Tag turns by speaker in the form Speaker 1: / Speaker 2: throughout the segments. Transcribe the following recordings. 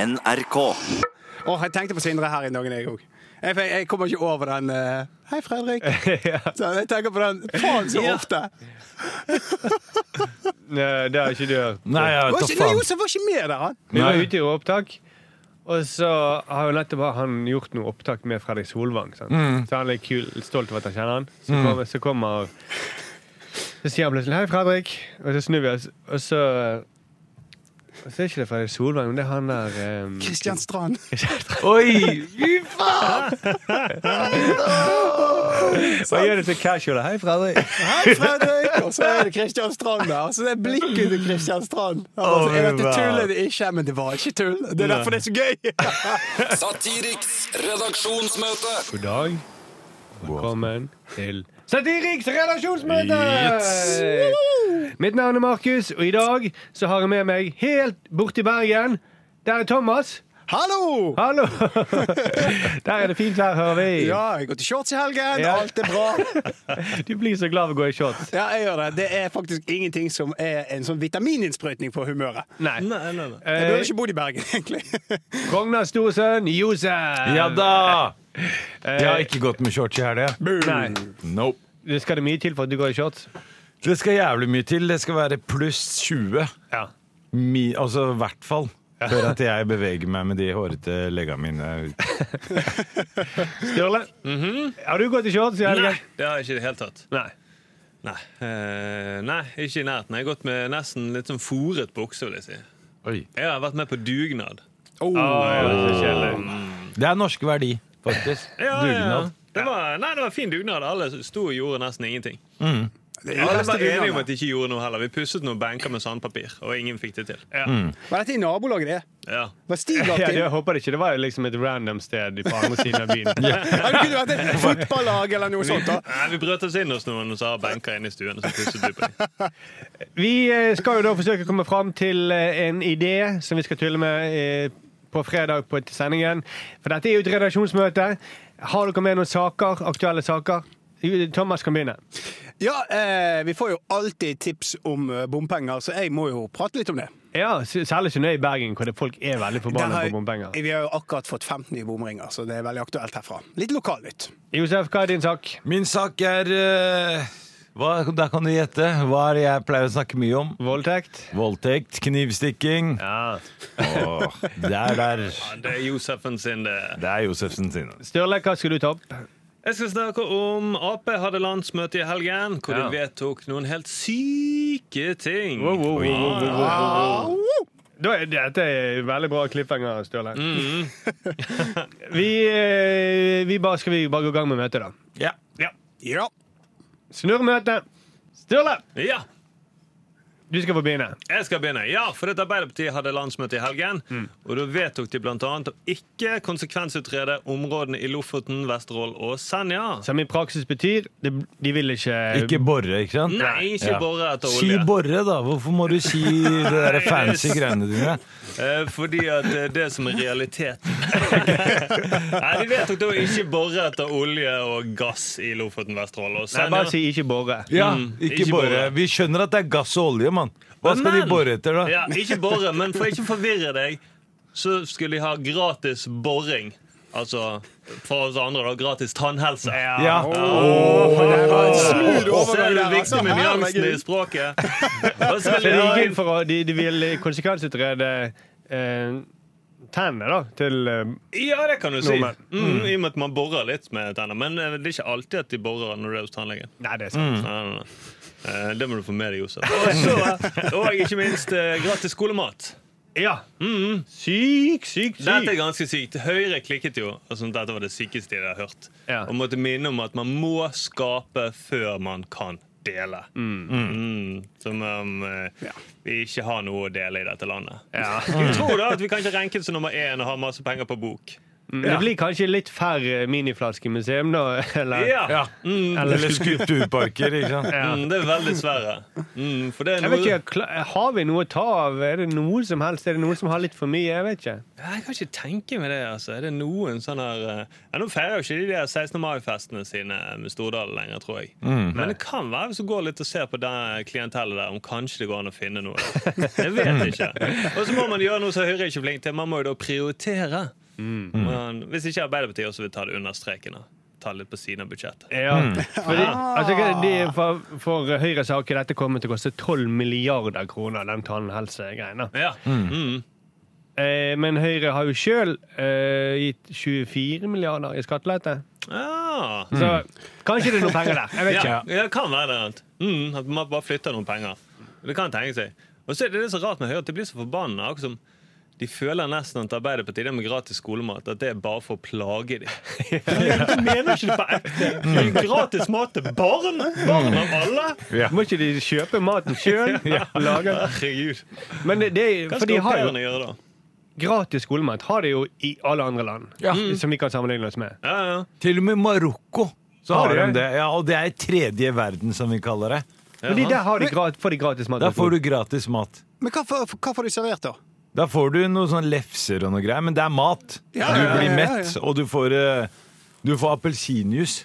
Speaker 1: NRK.
Speaker 2: Åh, jeg tenkte på Sindre her i dagen, jeg òg. Jeg, jeg, jeg kommer ikke over den eh, 'Hei, Fredrik'. Så jeg tenker på den faen så ofte.
Speaker 3: Nei, det har ikke du hørt.
Speaker 4: Nei, ja,
Speaker 2: Var
Speaker 4: ta
Speaker 2: ikke, nei,
Speaker 4: faen.
Speaker 2: Josef var ikke med der, han.
Speaker 3: Vi var
Speaker 4: Nei.
Speaker 3: ute i opptak, og så har jo nettopp han gjort noe opptak med Fredrik Solvang. Sant?
Speaker 4: Mm.
Speaker 3: Så han er kul, stolt over at han kjenner han. Så kommer, så kommer Så sier han plutselig 'Hei, Fredrik', og så snur vi oss, og så og så er ikke det Fredrik Solvang, men det er han der ehm,
Speaker 2: Kristian Strand.
Speaker 4: Oi! Fy faen!
Speaker 3: Hva gjør du så casual? Hei, Fredrik.
Speaker 2: Hei, Fredrik! Og så er det Kristian Strand der. Og så det blikket til Kristian Strand. Han bare, jeg vet det tuller det ikke, men det var ikke tull. Det er derfor det er så gøy.
Speaker 5: Satiriks redaksjonsmøte.
Speaker 3: God dag. Velkommen til Satiriks redaksjonsmøte! Mitt navn er Markus, og i dag så har jeg med meg helt borti Bergen. Der er Thomas.
Speaker 2: Hallo!
Speaker 3: Hallo! Der er det fint vær, hører vi.
Speaker 2: Ja, jeg går til shorts i helgen.
Speaker 3: Ja.
Speaker 2: Alt er bra.
Speaker 3: Du blir så glad av å gå i shorts.
Speaker 2: Ja, jeg gjør det. Det er faktisk ingenting som er en sånn vitamininnsprøytning på humøret.
Speaker 3: Nei.
Speaker 4: Nei, nei, nei.
Speaker 2: Jeg burde
Speaker 3: Eh,
Speaker 2: ikke bodd i Bergen, egentlig.
Speaker 3: Rognar Storsønn, Josef!
Speaker 4: Ja da!
Speaker 3: Eh,
Speaker 4: Jeg har ikke gått med shorts i helga.
Speaker 3: Nei.
Speaker 4: Nope.
Speaker 3: Det skal det mye til for at du går i shorts?
Speaker 4: Det skal jævlig mye til. Det skal være pluss 20.
Speaker 3: Ja.
Speaker 4: Mi, altså i hvert fall. Før at jeg beveger meg med de hårete leggene mine.
Speaker 3: Sturle,
Speaker 4: Mhm.
Speaker 3: har du gått i shorts? i helgen?
Speaker 6: Nei, det har jeg ikke i det hele tatt.
Speaker 3: Nei.
Speaker 6: Nei. Eh, nei, ikke i nærheten. Jeg har gått med nesten litt sånn fòret bukse, vil jeg si.
Speaker 4: Oi.
Speaker 6: Jeg har vært med på dugnad.
Speaker 3: Å, det er så kjedelig.
Speaker 4: Det er norske verdi, faktisk.
Speaker 6: Ja, ja, ja.
Speaker 4: Dugnad.
Speaker 6: Det var, nei, det var fin dugnad. Alle sto og gjorde nesten ingenting.
Speaker 2: Det er jo
Speaker 6: Alle
Speaker 2: beste
Speaker 6: var enige om
Speaker 2: dugnaden.
Speaker 6: at de ikke gjorde noe heller. Vi pusset noen benker med sandpapir, og ingen fikk det til. Ja.
Speaker 2: Var dette i nabolaget, det?
Speaker 6: Ja.
Speaker 2: Var Stig
Speaker 3: Ja, det,
Speaker 2: aktiv?
Speaker 3: jeg håper det ikke. Det var jo liksom et random sted på andre siden av byen.
Speaker 2: Ja, det kunne vært et fotballag eller noe sånt. da
Speaker 6: Nei, vi brøt oss inn hos noen og så har benker inne i stuen. og Så pusset vi på dem.
Speaker 3: Vi eh, skal jo da forsøke å komme fram til eh, en idé som vi skal tulle med eh, på fredag på til sendingen. For dette er jo et redaksjonsmøte. Har dere med noen saker, aktuelle saker? Thomas kan begynne.
Speaker 2: Ja, eh, Vi får jo alltid tips om eh, bompenger, så jeg må jo prate litt om det.
Speaker 3: Ja, s- Særlig siden det er i Bergen, hvor det folk er veldig
Speaker 2: Der
Speaker 3: forbanna
Speaker 2: har-
Speaker 3: på bompenger.
Speaker 2: Vi har jo akkurat fått 15 nye bomringer, så det er veldig aktuelt herfra. Litt lokalnytt.
Speaker 3: Josef, hva er din sak?
Speaker 4: Min sak er eh, hva, Der kan du gjette. Hva er det jeg pleier å snakke mye om?
Speaker 3: Voldtekt?
Speaker 4: Voldtekt, knivstikking.
Speaker 3: Ja.
Speaker 4: Åh, der, der.
Speaker 6: Ja, det er Josefen sin, det.
Speaker 4: Det er Josefsen sin. altså.
Speaker 3: Sturle, hva skal du ta opp?
Speaker 6: Jeg skal snakke om Ap hadde landsmøte i helgen, hvor
Speaker 3: Ja.
Speaker 6: de vedtok noen helt syke ting.
Speaker 3: Da er dette er veldig bra klipphenger, Sturle. vi, eh, vi bare, skal vi bare gå i gang med møtet, da?
Speaker 4: Ja.
Speaker 2: Ja.
Speaker 3: Snurr møtet! Sturle,
Speaker 6: Ja,
Speaker 3: du skal få begynne.
Speaker 6: Jeg skal begynne. Ja, for at Arbeiderpartiet hadde landsmøte i helgen. Og da vedtok de bl.a. å ikke konsekvensutrede områdene i Lofoten, Vesterålen og Senja.
Speaker 3: Som i praksis betyr det, De vil ikke
Speaker 4: Ikke borre, ikke sant?
Speaker 6: Nei, ikke
Speaker 4: Ja.
Speaker 6: bore etter
Speaker 4: Si
Speaker 6: olje.
Speaker 4: borre, da. Hvorfor må du si de der fancy greiene dine?
Speaker 6: Eh, fordi at det er det som er realiteten. Nei, De vedtok da å ikke bore etter olje og gass i Lofoten, Vesterålen og
Speaker 3: Nei,
Speaker 6: Senja.
Speaker 3: bare si 'ikke bore'.
Speaker 4: Ja,
Speaker 6: Mm,
Speaker 4: ikke,
Speaker 6: ikke
Speaker 4: borre.
Speaker 6: borre.
Speaker 4: Vi skjønner at det er gass og olje, mann. Hva skal de
Speaker 6: Men-
Speaker 4: bore etter, da?
Speaker 6: Ja, ikke bore, men for ikke å forvirre deg, så skulle de ha gratis boring. Altså for oss andre, da. Gratis tannhelse.
Speaker 4: Ja.
Speaker 2: Smooth overgang der,
Speaker 6: Ser du det
Speaker 2: altså.
Speaker 6: viktig med nyansene i
Speaker 2: Herregud.
Speaker 6: språket? Og så
Speaker 3: Så
Speaker 6: vil
Speaker 3: de,
Speaker 6: jeg ha
Speaker 3: gikk inn
Speaker 6: inn-
Speaker 3: for å, de, de vil konsekvensutrede eh, tennene da, til eh,
Speaker 6: Ja, det kan du si.
Speaker 3: Nordmenn.
Speaker 6: Mm, I og med at man borer litt med tenner. Men eh, det er ikke alltid at de borer når du er hos tannlegen.
Speaker 3: Nei, det er sant.
Speaker 6: Nei, nei, nei. Eh, Det må du få med deg, Josef. Og så- Og ikke minst eh, gratis skolemat.
Speaker 3: Ja. Syk, syk,
Speaker 6: Dette er
Speaker 3: syk.
Speaker 6: ganske sykt. Høyre klikket jo. Altså, dette var det sykeste jeg har hørt.
Speaker 3: Ja.
Speaker 6: Og måtte minne om at man må skape før man kan dele. Mm, som om eh, vi ikke har noe å dele i dette landet.
Speaker 3: Ja.
Speaker 6: Jeg tror da at vi kan ikke renke som nummer én og ha masse penger på bok.
Speaker 3: Men Det blir kanskje litt færre miniflaskemuseum, da? Eller?
Speaker 6: Ja.
Speaker 4: Ja.
Speaker 6: Mm,
Speaker 4: Eller skulpturparker, ikke sant.
Speaker 6: mm, det er veldig svære. Mm, for det er
Speaker 3: Jeg
Speaker 6: noe
Speaker 3: vet ikke, kla- Har vi noe å ta av? Er det noe som helst? Er det noen som har litt for mye? Jeg vet ikke.
Speaker 6: Ja, Jeg kan ikke tenke meg det. altså. Er det noen sånne her, eh, ja, Nå feirer jo ikke de der 16. mai-festene sine med Stordalen lenger, tror jeg. Men det kan være hvis du går litt og ser på det klientellet der, om kanskje det går an å finne noe. Jeg vet ikke. Og så må man gjøre noe som Høyre er ikke flink til. Man må jo da prioritere. Mm. Men, hvis ikke Arbeiderpartiet også vil ta det under streken. da. Ta det litt på siden av budsjettet.
Speaker 3: Ja. Hmm. Fordi, altså, de, for, for Høyre sa ikke dette kommer til å koste 12 milliarder kroner, den tannhelsegreina.
Speaker 6: Ja. Mm.
Speaker 3: Eh, men Høyre har jo sjøl eh, gitt 24 milliarder i skattelette.
Speaker 6: Ja.
Speaker 3: Så kanskje det er noen penger der. Jeg vet ikke.
Speaker 6: Ja, det kan være det. Rent. Mm, at man bare flytter noen penger. Det kan tenke seg. Og så er det det så rart med Høyre at de blir så forbanna. akkurat som De føler nesten at Arbeiderpartiet det med gratis skolemat At det er bare for å plage dem. De mener ikke det på ekte. Det er Gratis mat til barn! Barn av alle!
Speaker 4: Ja.
Speaker 3: Må ikke de kjøpe maten sjøl?
Speaker 6: Herregud.
Speaker 3: Men det, det,
Speaker 6: Hva
Speaker 3: for de
Speaker 6: skal au
Speaker 3: har jo
Speaker 6: pairene gjøre da?
Speaker 3: gratis skolemat har de jo i alle andre land som vi kan sammenligne oss med.
Speaker 6: Ja, ja.
Speaker 4: Til og med Marokko. Så
Speaker 3: Har
Speaker 4: har
Speaker 3: de
Speaker 4: de
Speaker 3: det?
Speaker 4: det. Ja, og det er tredje verden, som vi kaller det.
Speaker 3: Men de der har de gratis, får de gratis mat.
Speaker 4: Der får du gratis mat.
Speaker 2: Men hva, får- hva får de servert, da?
Speaker 4: Da får du noen sånne lefser og noe greier, men det er mat.
Speaker 2: Ja, ja,
Speaker 4: du
Speaker 2: ja,
Speaker 4: blir
Speaker 2: ja,
Speaker 4: mett, og du får, eh, du får appelsinjuice.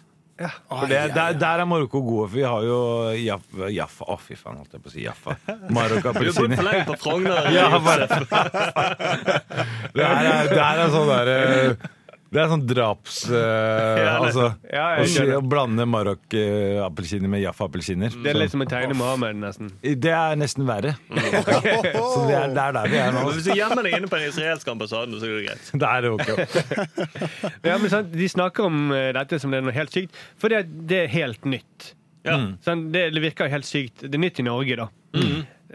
Speaker 4: For det, der, der er Marokko gode, for vi har jo Jaffa Jaffa, Å, fy faen, holdt jeg på å si Jaffa. Marokko
Speaker 6: Du har bodd for
Speaker 4: appelsiner.
Speaker 6: lenge på Frogner.
Speaker 4: Ja, bare Det her er, det her er sånn derre det er sånn draps... eh, altså,
Speaker 3: Ja, jeg
Speaker 4: å, si,
Speaker 3: skjønner.
Speaker 4: å blande Marokk-appelsiner med Jaffa-appelsiner.
Speaker 3: Det er litt som Mm. å tegne Mohammed, nesten.
Speaker 4: Det er nesten verre. Så det er, det er der vi er nå.
Speaker 6: Men Hvis du gjemmer deg inne på den israelske ambassaden, så går det greit.
Speaker 4: Det er ok.
Speaker 3: Ja, men sant, De snakker om eh, dette som det er noe helt sykt, for det, det er helt nytt.
Speaker 6: Ja.
Speaker 3: Sånn, det, det virker helt sykt. Det er nytt i Norge, da.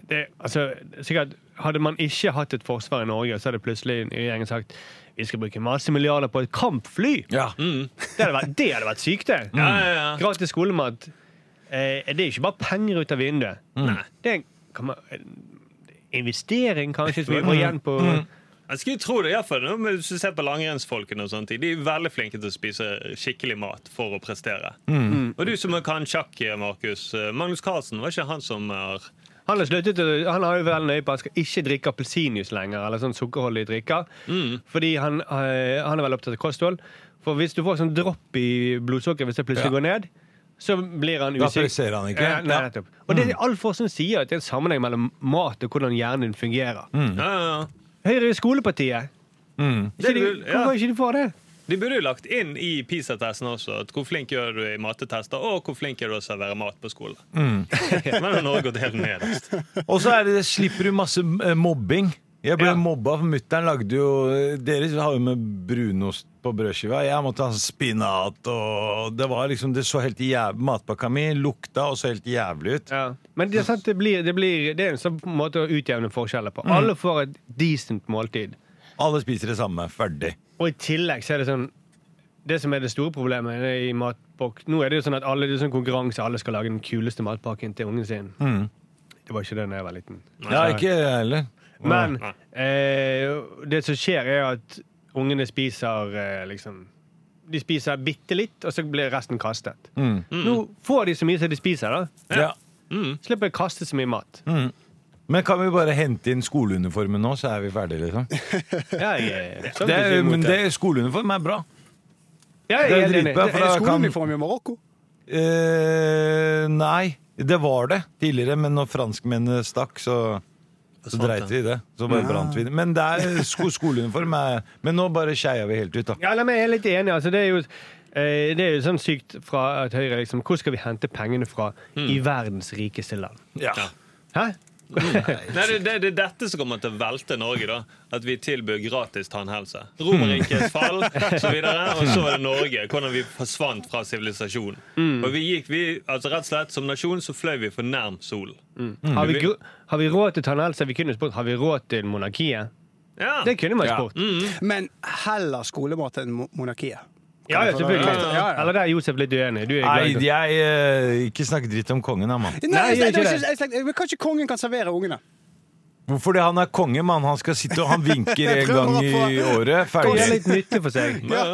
Speaker 3: Det, altså, sikkert, hadde man ikke hatt et forsvar i Norge, så hadde plutselig regjeringen sagt vi skal bruke masse milliarder på et kampfly.
Speaker 4: Ja.
Speaker 3: Det hadde vært, det hadde vært sykt, det.
Speaker 6: Mm. Ja, ja, ja.
Speaker 3: Gratis skolemat. Eh, det er ikke bare penger ut av vinduet.
Speaker 6: Mm.
Speaker 3: Det er en- kan man, en investering, kanskje, som vi
Speaker 6: Mm.
Speaker 3: får igjen på
Speaker 6: Jeg skulle tro det, i hvert fall, nå, men Hvis du ser på langrennsfolkene, og sånne ting, de er veldig flinke til å spise skikkelig mat for å prestere. Og du som kan sjakk, Markus. eh, Magnus Carlsen, var ikke han som er
Speaker 3: Han har sluttet, å- han har jo vel nøye på at han skal ikke drikke appelsinjuice lenger, eller sånn sukkerholdige drikker. Fordi han, eh, han er veldig opptatt av kosthold. For hvis du får sånn dropp i blodsukkeret hvis det plutselig går ned, så blir han
Speaker 4: Da
Speaker 3: usikker.
Speaker 4: presserer han ikke.
Speaker 3: Ja, nei,
Speaker 4: Ja.
Speaker 3: nettopp. Og det er all forskning sier at det er en sammenheng mellom mat og hvordan hjernen din fungerer.
Speaker 6: ja, ja, ja.
Speaker 3: Høyre i skolepartiet. Ikke de,
Speaker 6: Det er vel- ja.
Speaker 3: hvorfor ikke de får det?
Speaker 6: De burde jo lagt inn i PISA-testen også at hvor flink er du i mattetester, og hvor flink er du å servere mat på skolen. Men nå har Norge gått helt nederst.
Speaker 4: Og så er det, slipper du masse eh, mobbing. Jeg ble
Speaker 6: Ja.
Speaker 4: mobba, for mutter'n lagde jo Dere har jo med brunost på brødskiva. Jeg måtte ha sånn spinat, og det var liksom Det så helt jævlig Matpakka mi lukta og så helt jævlig ut.
Speaker 3: Men det er, sant, det, blir, det, blir, det er en sånn måte å utjevne forskjeller på. Alle får et decent måltid.
Speaker 4: Alle spiser det samme. Ferdig.
Speaker 3: Og i tillegg så er det sånn Det som er det store problemet i matpakk Nå er det jo sånn at alle, det er sånn konkurranse. Alle skal lage den kuleste matpakken til ungen sin. Det var ikke det da jeg var liten.
Speaker 4: Ja, ikke jeg heller.
Speaker 3: Men eh, det som skjer, er at ungene spiser eh, liksom De spiser bitte litt, og så blir resten kastet.
Speaker 4: Mm.
Speaker 3: Nå får de så mye som de spiser, da.
Speaker 4: Ja.
Speaker 3: Slipper å kaste så mye mat.
Speaker 4: Men kan vi bare hente inn skoleuniformen nå, så er vi ferdige, liksom?
Speaker 3: Jeg, er- sånn
Speaker 4: Det,
Speaker 3: ikke imot
Speaker 4: men det, skoleuniform er bra.
Speaker 3: Ja, jeg
Speaker 4: det er
Speaker 3: helt enig.
Speaker 4: dritbra,
Speaker 3: Det-
Speaker 4: for da
Speaker 2: Er
Speaker 4: kan-
Speaker 2: skoleuniform i Marokko?
Speaker 4: Eh, nei, det var det tidligere, men når franskmennene stakk, så, så dreit vi i det. Så bare brant vi det. Men det er sko skoleuniform er Men nå bare skeia vi helt ut, da.
Speaker 3: Ja, nei, men jeg er litt enig. Altså, det, er jo, eh, det er jo sånn sykt fra at Høyre liksom, Hvor skal vi hente pengene fra i
Speaker 2: Mm.
Speaker 3: verdens rikeste land?
Speaker 4: Ja.
Speaker 3: Hæ?
Speaker 6: Nei, det, det, det er dette som kommer til å velte Norge. da At vi tilbyr gratis tannhelse. Romerrikets fall så videre, og så var det Norge. Hvordan vi forsvant fra sivilisasjonen. Og vi gikk, vi, altså rett og slett Som nasjon så fløy vi for nærm solen.
Speaker 2: Mm,
Speaker 3: Har, vi, gr- har vi råd til tannhelse? Vi kunne spurt har vi råd til monarkiet.
Speaker 6: Ja.
Speaker 3: Det kunne man spurt.
Speaker 2: Mm. Men heller skolemat enn mo- monarkiet.
Speaker 3: Ja, ja, selvfølgelig.
Speaker 2: Ja, ja, ja.
Speaker 3: Eller der er Josef litt uenig. Du er
Speaker 4: Nei,
Speaker 3: glad i
Speaker 4: jeg eh, Ikke snakk dritt om kongen, da, mann.
Speaker 2: Nei,
Speaker 3: gjør
Speaker 2: jeg, jeg,
Speaker 3: ikke
Speaker 2: jeg,
Speaker 3: det.
Speaker 2: jeg, jeg, men kanskje kongen kan servere ungene?
Speaker 4: Fordi han er konge, mann. Han skal sitte og han vinker en
Speaker 2: prøver
Speaker 4: gang
Speaker 2: å få-
Speaker 4: i året.
Speaker 3: Det er
Speaker 4: Ferdig.
Speaker 3: litt nyttig for seg.
Speaker 6: Ja.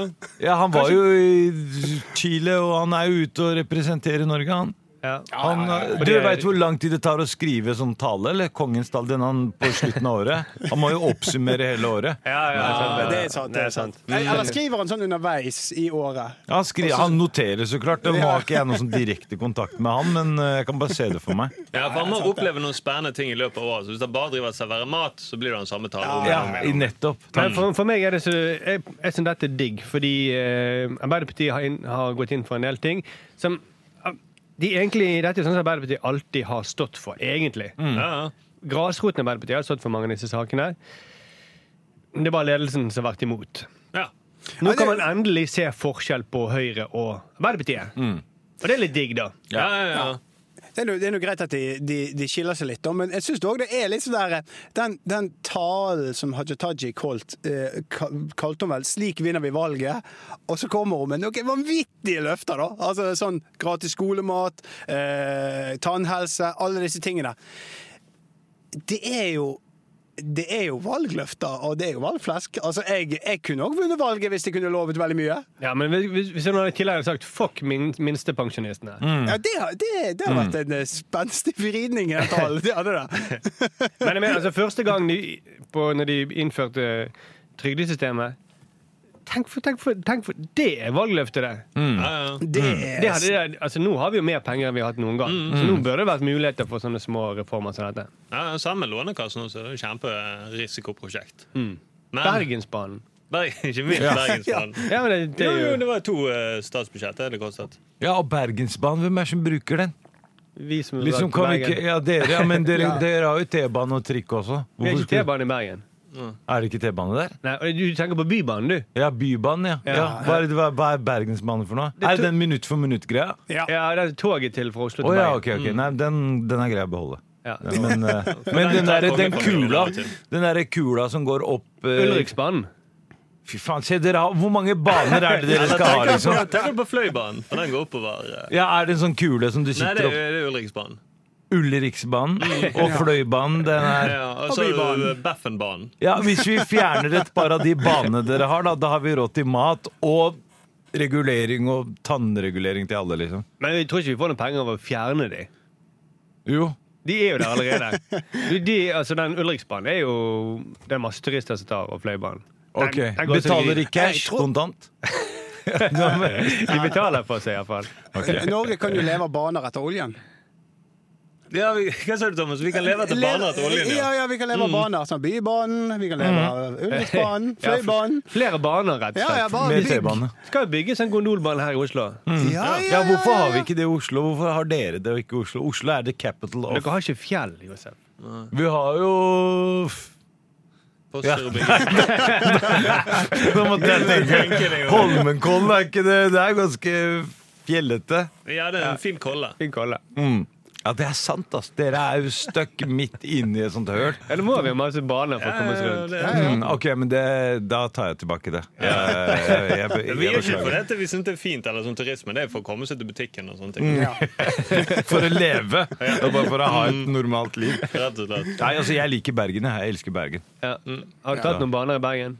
Speaker 4: Ja, han var jo i Chile, og han er jo ute og representerer Norge, han.
Speaker 3: Ja.
Speaker 4: han
Speaker 3: Og
Speaker 4: Du
Speaker 3: det-
Speaker 4: veit hvor lang tid det tar å skrive sånn tale, eller? Kongens tale, den han på slutten av året. Han må jo oppsummere hele året.
Speaker 3: Ja, ja,
Speaker 2: Ja, det er sant. det er sant. Nei, Eller skriver han sånn underveis i året?
Speaker 4: Ja, han, skriver, han noterer så klart. Nå har ikke jeg noen sånn direkte kontakt med han, men eh, jeg kan bare se det for meg.
Speaker 6: Ja, for Han må oppleve noen spennende ting i løpet av året. Så Hvis han bare driver og serverer mat, så blir det den samme talen. om
Speaker 4: Ja,
Speaker 6: igjen og om
Speaker 4: i
Speaker 6: igjen.
Speaker 4: nettopp.
Speaker 3: Men for, for meg er det så Jeg, jeg syns dette er digg, fordi eh, Arbeiderpartiet har, inn, har gått inn for en del ting som eh, de egentlig, Dette er jo sånn som Arbeiderpartiet alltid har stått for, egentlig.
Speaker 6: Ja, ja.
Speaker 3: Grasroten i Arbeiderpartiet har stått for mange av disse sakene. Men Det er bare ledelsen som har vært imot.
Speaker 6: Ja.
Speaker 3: Nå kan man endelig se forskjell på Høyre og Arbeiderpartiet. Og det er litt digg, da.
Speaker 6: Ja, ja, ja.
Speaker 2: Det er noe, det er noe greit at de, de, de skiller seg litt, da, men jeg syns òg det er litt sånn der Den, den talen som Haja Tajik holdt, eh, ka- kalte hun vel 'Slik vinner vi valget', og så kommer hun med noen vanvittige løfter, da. Altså sånn gratis skolemat, eh, tannhelse, alle disse tingene. Det er jo det er jo valgløfter, og det er jo valgflesk. Altså, jeg, jeg kunne òg vunnet valget hvis jeg kunne lovet veldig mye.
Speaker 3: Ja, men Hvis, hvis noen i tillegg hadde sagt 'fuck min, minstepensjonistene',
Speaker 2: Ja, det, har- det, det har vært en eh, spenstig vridning i den talen. Det hadde det.
Speaker 3: Men jeg mener, altså, første gang de, på, når de innførte trygdesystemet Tenk for, tenk for, tenk for Det er valgløftet, det.
Speaker 4: Mm.
Speaker 6: ja, ja.
Speaker 2: Det er
Speaker 3: det, hadde, det- altså, nå har vi jo mer penger enn vi har hatt noen gang.
Speaker 4: Mm.
Speaker 3: Så nå burde det vært muligheter for sånne små reformer som dette.
Speaker 6: ja, ja, Sammen med Lånekassen også. Det er jo et kjemperisikoprosjekt. Men
Speaker 3: Bergensbanen.
Speaker 6: Berg, ikke minst Bergensbanen.
Speaker 3: Ja, men det, det
Speaker 6: Jo, jo,
Speaker 3: er jo
Speaker 6: det var to eh, statsbudsjetter det kostet.
Speaker 4: Ja, og Bergensbanen, hvem er det som bruker den?
Speaker 3: vi som
Speaker 4: Liksom
Speaker 3: drar
Speaker 4: kan
Speaker 3: til
Speaker 4: vi ikke,
Speaker 3: Bergen.
Speaker 4: ja, dere, ja, men dere,
Speaker 2: Ja.
Speaker 4: dere har jo T-bane og trikk også.
Speaker 3: Vi har
Speaker 4: Hvorfor
Speaker 3: ikke
Speaker 4: skulle-
Speaker 3: T-bane i Bergen.
Speaker 4: er det ikke T-bane der?
Speaker 3: Nei, og Du tenker på Bybanen, du.
Speaker 4: Ja, Bybanen, ja. ja. Hva, er det, hva hva er Bergensbanen for noe?
Speaker 3: er
Speaker 4: Er
Speaker 3: to-
Speaker 4: det den minutt for minutt-greia?
Speaker 2: Ja.
Speaker 3: Ja, det Mm. er toget til fra Oslo
Speaker 4: Å
Speaker 3: til
Speaker 4: ja,
Speaker 3: Bergen.
Speaker 4: ok. ok Nei, den, den er grei å beholde.
Speaker 3: Ja.
Speaker 4: Den- Men, eh, men den, der, den kula Den der kula som går opp eh,
Speaker 3: Ulriksbanen.
Speaker 4: Fy faen, se dere har Hvor mange baner er det dere
Speaker 6: Eller
Speaker 4: skal ha,
Speaker 6: tenker
Speaker 4: liksom?
Speaker 6: på, tenker på Fløibanen, for den går oppover. eh.
Speaker 4: Ja, Er det en sånn kule som du
Speaker 6: Nei, det
Speaker 4: sitter
Speaker 6: er,
Speaker 4: opp
Speaker 6: det er Ulriksbanen.
Speaker 4: Ulriksbanen og Fløibanen? Den er
Speaker 6: Ja, og så er det
Speaker 2: Bybanen.
Speaker 6: jo Beffenbanen.
Speaker 4: Ja, Hvis vi fjerner et par av de banene dere har, da, da har vi råd til mat og regulering og tannregulering til alle, liksom.
Speaker 3: Men jeg tror ikke vi får noen penger av å fjerne de.
Speaker 4: Jo.
Speaker 3: De er jo der allerede. Du, de, altså, den Ulriksbanen er jo den masse turister som tar, og Fløibanen. Den-
Speaker 4: Ok.
Speaker 3: den går så
Speaker 4: Betaler
Speaker 3: de-
Speaker 4: i cash,
Speaker 2: Jeg tror-
Speaker 4: kontant?
Speaker 3: De betaler for seg, iallfall.
Speaker 2: Eh, Norge kan jo leve av baner etter oljen.
Speaker 6: Ja, vi, hva sa du, Thomas? Vi kan leve etter baner etter oljen,
Speaker 2: ja.
Speaker 6: ja.
Speaker 2: ja, vi kan leve av baner. Sånn Bybanen, vi kan leve av Ulriksbanen, Fløibanen.
Speaker 3: Flere baner, rett og
Speaker 2: Ja, ja,
Speaker 3: slett.
Speaker 2: bare
Speaker 4: Med
Speaker 2: bygg.
Speaker 4: T-bane.
Speaker 3: Skal jo bygges en gondolbane her i Oslo.
Speaker 2: Ja,
Speaker 4: Ja, hvorfor har vi ikke det i Oslo? Hvorfor har dere det og ikke Oslo? Oslo er the capital of
Speaker 3: Dere har ikke fjell, Josef.
Speaker 4: Vi har jo
Speaker 6: Poster og bygge.
Speaker 4: Nå måtte jeg tenke. Holmenkollen er ikke det Det er ganske fjellete.
Speaker 6: Ja, det er en fin kolle.
Speaker 3: Fin kolle.
Speaker 4: Ja, det er sant, ass. Dere er jo stuck midt inni et sånt høl.
Speaker 3: Eller må vi ha masse baner for å komme oss
Speaker 6: Ja,
Speaker 3: rundt?
Speaker 6: det,
Speaker 4: Mm, ok, men det, da tar jeg tilbake det. Jeg, jeg, jeg, jeg,
Speaker 6: vi gjør ikke det for
Speaker 4: beklager.
Speaker 6: dette vi syns det er fint, eller sånn turisme. Det er for å komme seg til butikken og sånne ting.
Speaker 4: Mm. for å leve, og bare for å ha et normalt liv.
Speaker 6: Rett og slett.
Speaker 4: Nei, altså, Jeg liker Bergen. jeg. Jeg elsker Bergen.
Speaker 3: Ja. mm. Har du tatt noen baner i Bergen?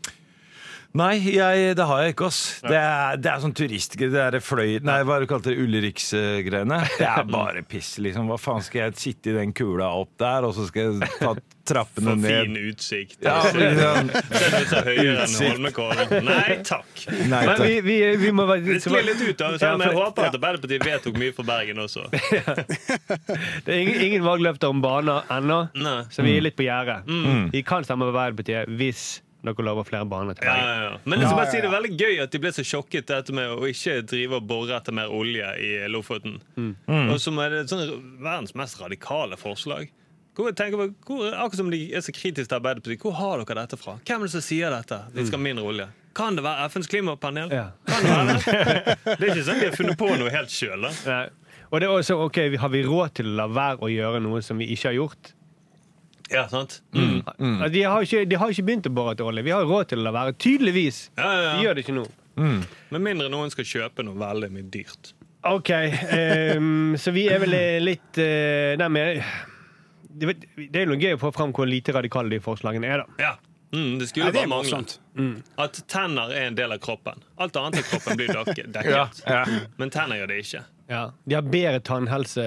Speaker 4: Nei, jeg, det har jeg ikke, ass. Det er, det er sånn turistgreier. Det er fløy... Nei, hva er det du kalte det? Ulriksgreiene. Det er bare piss, liksom. Hva faen skal jeg sitte i den kula opp der, og så skal jeg ta trappene
Speaker 6: For fin
Speaker 4: ned?
Speaker 6: utsikt.
Speaker 4: Ja,
Speaker 6: Se-
Speaker 4: men, ja.
Speaker 6: Selv om det er høyere enn
Speaker 4: Utsikt.
Speaker 6: Holmenkollen. Nei takk.
Speaker 4: Nei,
Speaker 3: Men
Speaker 4: takk.
Speaker 3: vi, vi, vi må være
Speaker 6: Vi sklir litt ut av det, selv om jeg
Speaker 3: Ja, for-
Speaker 6: sånn, håper at Arbeiderpartiet vedtok mye for Bergen også.
Speaker 3: Det er ingen, ingen valgløfter om baner ennå,
Speaker 6: Nei.
Speaker 3: så vi er litt på gjerdet. Vi kan stemme på Arbeiderpartiet hvis dere lover flere baner til
Speaker 6: Ja,
Speaker 3: Bergen.
Speaker 6: ja, ja. Men jeg skal bare
Speaker 2: Ja,
Speaker 6: si
Speaker 2: ja,
Speaker 6: det
Speaker 2: ja.
Speaker 6: er veldig gøy at de ble så sjokket dette med å ikke drive og bore etter mer olje i Lofoten.
Speaker 3: Mm.
Speaker 6: Mm. Og som er det sånn verdens mest radikale forslag. Hvor, jeg tenker på, hvor, akkurat som de er så kritiske til Arbeiderpartiet, hvor har dere dette fra? Hvem er det som sier dette? Vi skal ha mindre olje. Kan det være FNs klimapanel?
Speaker 3: Ja.
Speaker 6: Kan det, være det? det er ikke sånn at de har funnet på noe helt sjøl.
Speaker 3: Nei. Og det er også, ok, vi- Har vi råd til å la være å gjøre noe som vi ikke har gjort?
Speaker 6: Ja, sant?
Speaker 3: Altså, de, har ikke, de har ikke begynt å bore etter olje. Vi har råd til å la være. Tydeligvis.
Speaker 6: Ja, ja,
Speaker 3: De
Speaker 6: ja.
Speaker 3: gjør det ikke nå.
Speaker 6: Med mindre noen skal kjøpe noe veldig mye dyrt.
Speaker 3: OK, ehm, så vi er vel litt uh, Nei, eh, men det vet- det er jo gøy å få fram hvor lite radikale de forslagene er, da.
Speaker 6: Ja. Mm, det skulle
Speaker 2: Nei, det
Speaker 6: bare
Speaker 2: er
Speaker 6: mangle.
Speaker 2: morsomt.
Speaker 6: At tenner er en del av kroppen. Alt annet i kroppen blir dek- dekket.
Speaker 4: Ja, ja.
Speaker 6: Men tenner gjør det ikke.
Speaker 3: De har bedre tannhelse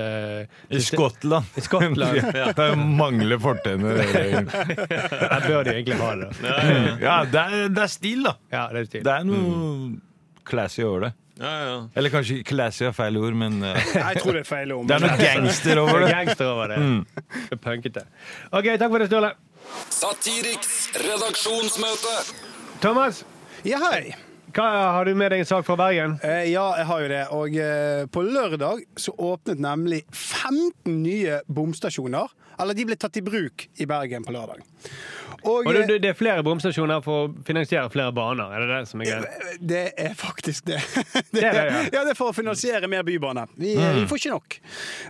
Speaker 4: I Skottland.
Speaker 3: I Skottland.
Speaker 4: Ja. Det mangler fortenner.
Speaker 3: Der bør de egentlig ha det.
Speaker 6: Ja, ja, ja.
Speaker 4: Ja, det er, det er stil, da.
Speaker 3: Ja, det er stil.
Speaker 4: Det er noe classy over det.
Speaker 6: ja, ja.
Speaker 4: Eller kanskje classy er feil ord, men eh,
Speaker 2: Nei, jeg tror det er feil ord.
Speaker 4: det er
Speaker 2: men-
Speaker 4: noe gangster
Speaker 3: Det
Speaker 4: over
Speaker 3: er
Speaker 4: det.
Speaker 3: gangster over det. Det er Punkete. OK, takk for det, Ståle.
Speaker 5: Satiriks redaksjonsmøte.
Speaker 3: Thomas,
Speaker 2: Ja, hei.
Speaker 3: hva har du med deg en sak fra Bergen?
Speaker 2: Eh, Ja, jeg har jo det. Og eh, på lørdag så åpnet nemlig 15 nye bomstasjoner. Eller de ble tatt i bruk i Bergen på lørdag. Og,
Speaker 3: Og det,
Speaker 2: eh,
Speaker 3: det- det er flere bomstasjoner for å finansiere flere baner. Er det det som er greia?
Speaker 2: det er faktisk det.
Speaker 3: er det, ja. Mm.
Speaker 2: Ja, det er for å finansiere mer bybane. Vi, vi får ikke nok.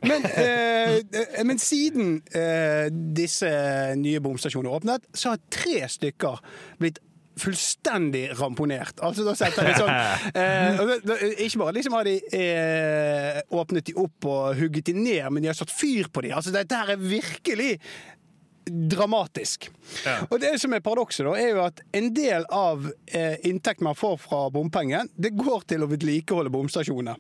Speaker 2: Men, eh, men siden eh, disse nye bomstasjonene åpnet, så har tre stykker blitt Fullstendig ramponert. Altså, da setter vi sånn eh, og da, da, Ikke bare liksom har de eh, åpnet de opp og hugget de ned, men de har satt fyr på de. Altså, dette her er virkelig dramatisk. Og det som er paradokset, da, er jo at en del av eh, inntekten man får fra bompengen, det går til å vedlikeholde bomstasjoner.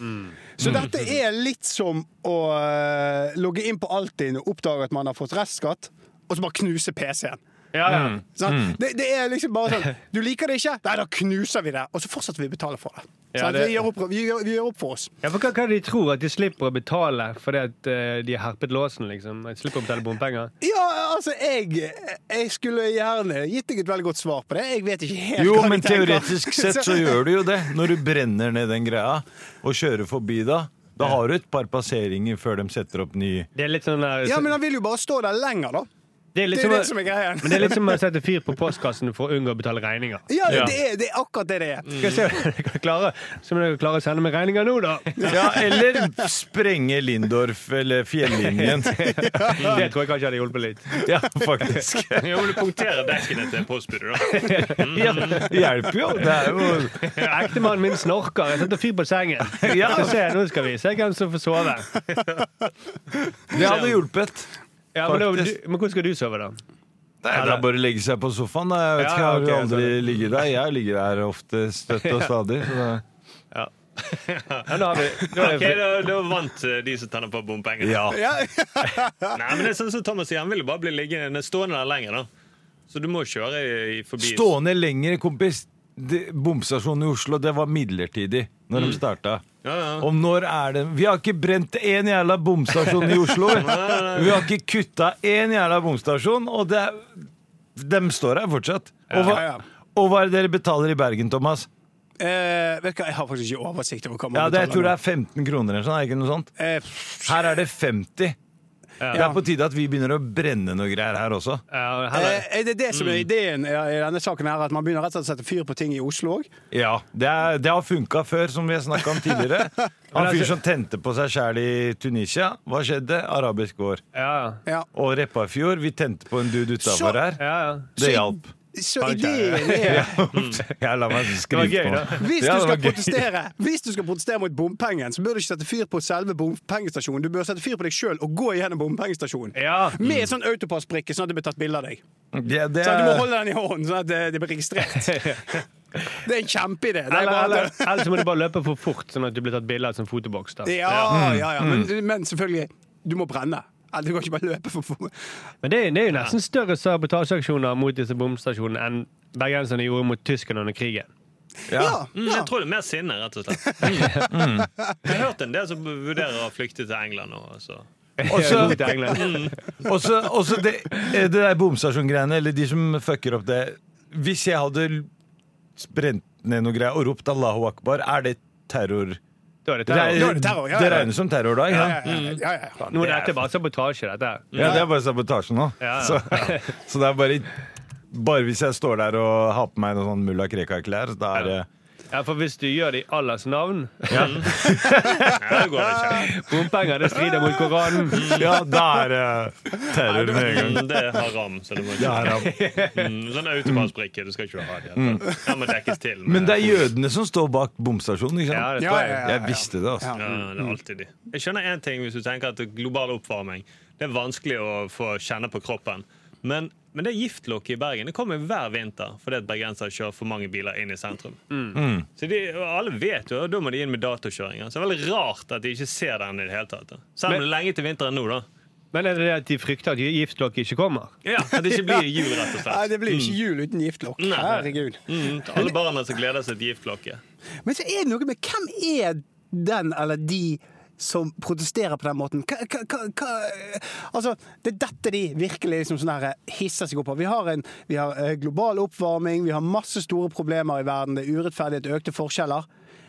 Speaker 3: Mm.
Speaker 2: Så dette er litt som å eh, logge inn på Altinn og oppdage at man har fått restskatt, og så bare knuse PC-en.
Speaker 3: Ja, ja.
Speaker 2: Sant?
Speaker 3: Mm.
Speaker 2: Det, det er liksom bare sånn Du liker det ikke? Nei, da knuser vi det. Og så fortsetter vi å betale for det.
Speaker 3: Ja,
Speaker 2: Sant?
Speaker 3: det-
Speaker 2: Vi, gjør opp, vi, gjør, vi gjør opp for oss.
Speaker 3: ja for hva, hva er det de tror? At de slipper å betale fordi at eh, de har herpet låsen? liksom? At de slipper å betale bompenger?
Speaker 2: Ja, altså, jeg, jeg skulle gjerne gitt deg et veldig godt svar på det. Jeg vet ikke helt
Speaker 4: Jo,
Speaker 2: hva de
Speaker 4: men
Speaker 2: tenker.
Speaker 4: teoretisk sett så gjør du jo det. Når du brenner ned den greia og kjører forbi da, da har du et par passeringer før de setter opp ny
Speaker 3: Det er litt sånn der,
Speaker 2: Ja, men han vil jo bare stå der lenger, da.
Speaker 3: det er
Speaker 2: Det
Speaker 3: litt
Speaker 2: er jo
Speaker 4: Liksom,
Speaker 3: som,
Speaker 2: det som er greia.
Speaker 3: men det er litt som å sette fyr på postkassen for å unngå å betale regninger.
Speaker 2: Ja,
Speaker 4: Ja.
Speaker 2: Det, er, det er akkurat det det er.
Speaker 4: Mm.
Speaker 3: Skal se om dere klarer, så må dere klare å sende meg regninger nå, da.
Speaker 4: Ja, eller sprenge Lindorf eller Fjellinjen.
Speaker 3: Det tror jeg kanskje hadde hjulpet litt.
Speaker 4: Ja, faktisk.
Speaker 6: Jo, men du punkterer dekkene til postbudet, da.
Speaker 3: Ja.
Speaker 4: Det hjelper jo. Det er jo
Speaker 3: Ektemannen min snorker. Jeg setter fyr på sengen.
Speaker 4: Ja.
Speaker 3: Så se, nå skal vi se hvem som får sove.
Speaker 4: Det hadde hjulpet.
Speaker 3: Ja, men, da, du,
Speaker 4: Faktisk.
Speaker 3: men hvordan skal du sove, da?
Speaker 4: Nei, det er bare å legge seg på sofaen. da. Jeg vet
Speaker 3: Ja,
Speaker 4: ikke, Har
Speaker 3: ok,
Speaker 4: du aldri
Speaker 3: sånn.
Speaker 4: ligget der? Jeg ligger der ofte støtt og stadig. Så det...
Speaker 3: Ja, nå har vi, nå er
Speaker 6: Ok,
Speaker 3: det-
Speaker 6: da, da vant eh, de som tenner på bompenger.
Speaker 4: Ja.
Speaker 2: Ja.
Speaker 6: Nei, men det er sånn som Thomas sier, han ville bare bli liggende stående der lenger, da. Så du må kjøre i, forbi.
Speaker 4: Stående lenger, kompis. Det- Bomstasjonen i Oslo, det var midlertidig når de starta.
Speaker 6: Mm. Ja, ja.
Speaker 4: Om når er det Vi har ikke brent én jævla bomstasjon i Oslo! Vi har ikke kutta én jævla bomstasjon, og det er, de står her fortsatt. Og
Speaker 2: Ja, ja.
Speaker 4: hva, og hva er det dere betaler i Bergen, Thomas?
Speaker 2: Eh, vet du hva, Jeg har faktisk ikke oversikt over hva man
Speaker 4: Ja, det, Jeg tror det
Speaker 2: betaler. Eh,
Speaker 4: er 15 kroner eller sånn, er det ikke noe sånt?
Speaker 2: Jeg tror
Speaker 4: Her er det 50. Det er på tide at vi begynner å brenne noe greier her også.
Speaker 3: ja, heller-
Speaker 2: Eh, er det det som
Speaker 4: Mm.
Speaker 2: er ideen i i denne saken, her, at man begynner rett og slett å sette fyr på ting i Oslo òg?
Speaker 4: Ja, Det, er, det har funka før, som vi har snakka om tidligere. Han
Speaker 2: altså-
Speaker 4: fyren som tente på seg sjæl i Tunisia. Hva skjedde? Arabisk år.
Speaker 2: Eh.
Speaker 3: ja,
Speaker 2: Ja.
Speaker 4: Og Repparfjord. Vi tente på en dude
Speaker 2: Så-
Speaker 4: utafor her.
Speaker 3: ja, ja.
Speaker 4: Det hjalp.
Speaker 2: Så ideen er Mm.
Speaker 4: Jeg la meg
Speaker 3: Det var
Speaker 4: skrive
Speaker 3: gøy, da.
Speaker 4: på.
Speaker 2: hvis
Speaker 4: Ja,
Speaker 2: du,
Speaker 4: det var
Speaker 2: skal
Speaker 4: gøy.
Speaker 2: protestere, hvis du skal protestere mot bompengen, så bør du ikke sette fyr på selve bompengestasjonen. Du bør sette fyr på deg sjøl og gå gjennom bompengestasjonen.
Speaker 3: Ja.
Speaker 2: Med sånn autopassbrikke, sånn at det blir tatt bilde av deg.
Speaker 4: Det, det
Speaker 2: Sånn at du må
Speaker 4: er,
Speaker 2: holde den i hånden, sånn at det, det blir registrert. Det er en kjempeidé. Det er
Speaker 3: Eller,
Speaker 2: bare at-
Speaker 3: eller, eller så må du bare løpe for fort, sånn at du blir tatt bilde av som fotoboks. da.
Speaker 2: Ja, ja, ja. Men, men selvfølgelig, du må brenne. Eller Du kan ikke bare løpe for for-
Speaker 3: Men det, er- det er jo nesten større sabotasjeaksjoner mot disse bomstasjonene enn bergenserne gjorde mot tyskerne under krigen.
Speaker 2: Ja,
Speaker 6: Mm,
Speaker 2: ja.
Speaker 6: Jeg tror det er mer sinne, rett og slett. Jeg har hørt en del som vurderer å flykte til England nå. altså. Så.
Speaker 4: Og så-
Speaker 3: Mot England.
Speaker 4: Og så- og så det, eh, det der bomstasjongreiene, eller de som fucker opp det Hvis jeg hadde brent ned noe greier og ropt 'Allahu akbar', er det terror?
Speaker 3: Da er det
Speaker 4: Det, er,
Speaker 3: terror.
Speaker 2: er det terror, ja,
Speaker 4: det
Speaker 2: ja.
Speaker 4: regnes som terror da?
Speaker 2: Ja,
Speaker 4: Ja.
Speaker 2: ja, ja, ja, ja.
Speaker 3: Nå er dette bare sabotasje, dette her.
Speaker 4: Ja, det er bare sabotasje nå.
Speaker 3: Ja, ja.
Speaker 4: Så, så det er bare Bare hvis jeg står der og har på meg noen sånn mulla Krekar-klær, da er det
Speaker 3: Ja, For hvis du gjør det i Allahs navn
Speaker 6: Mm. Ja, det går ikke.
Speaker 3: Bompenger, det strider mot Koranen.
Speaker 4: Ja, da er det terror med en gang.
Speaker 6: Mm, Det er haram. Så det må
Speaker 4: Ja,
Speaker 6: ikke.
Speaker 4: da.
Speaker 6: Mm, sånn autopassbrikke. Du skal ikke ha det. Den må dekkes til. med-
Speaker 4: Men det er jødene som står bak bomstasjonen, ikke
Speaker 3: Ja,
Speaker 4: sant?
Speaker 3: det
Speaker 2: Ja, ja,
Speaker 3: står
Speaker 2: ja.
Speaker 4: Jeg visste det, altså.
Speaker 6: Ja, det er alltid de. Jeg skjønner én ting hvis du tenker at det er global oppvarming Det er vanskelig å få kjenne på kroppen. Men, men det giftlokket i Bergen det kommer hver vinter fordi at bergensere kjører for mange biler inn i sentrum. Så de, og Alle vet jo, og da må de inn med datokjøringer. Så det er veldig rart at de ikke ser den i det hele tatt. da. Selv
Speaker 3: Men-
Speaker 6: om det er lenge til vinteren nå, da.
Speaker 3: Men er det det at de frykter at giftlokket ikke kommer?
Speaker 6: Ja, At det ikke blir jul, rett og
Speaker 2: Nei,
Speaker 6: slett.
Speaker 2: det blir jo ikke jul uten giftlokk.
Speaker 6: Nei.
Speaker 2: Herregud.
Speaker 6: Mm, til alle barna som gleder seg til giftklokke.
Speaker 2: Men så er det noe med hvem er den eller de som protesterer på den måten? Hva, hva, hva, hva, altså, det er dette de virkelig liksom sånn her hisser seg opp av. Vi har, en, vi har eh, global oppvarming, vi har masse store problemer i verden, det er urettferdighet, økte forskjeller.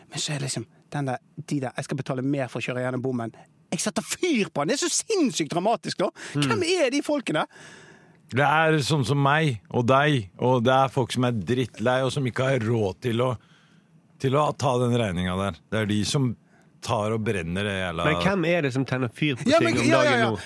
Speaker 2: Men så er det liksom den der, de der Jeg skal betale mer for å kjøre gjennom bommen. Jeg setter fyr på den! Det er så sinnssykt dramatisk, da! Hvem er de folkene?
Speaker 4: Det er sånn som meg og deg, og det er folk som er drittlei, og som ikke har råd til å, til å ta den regninga der. Det er de som tar og brenner det jævla
Speaker 3: Men hvem er det som tenner fyr på
Speaker 2: Ja,
Speaker 3: ting
Speaker 2: men-
Speaker 3: om
Speaker 2: ja, ja,
Speaker 3: dagen
Speaker 2: ja.
Speaker 3: nå?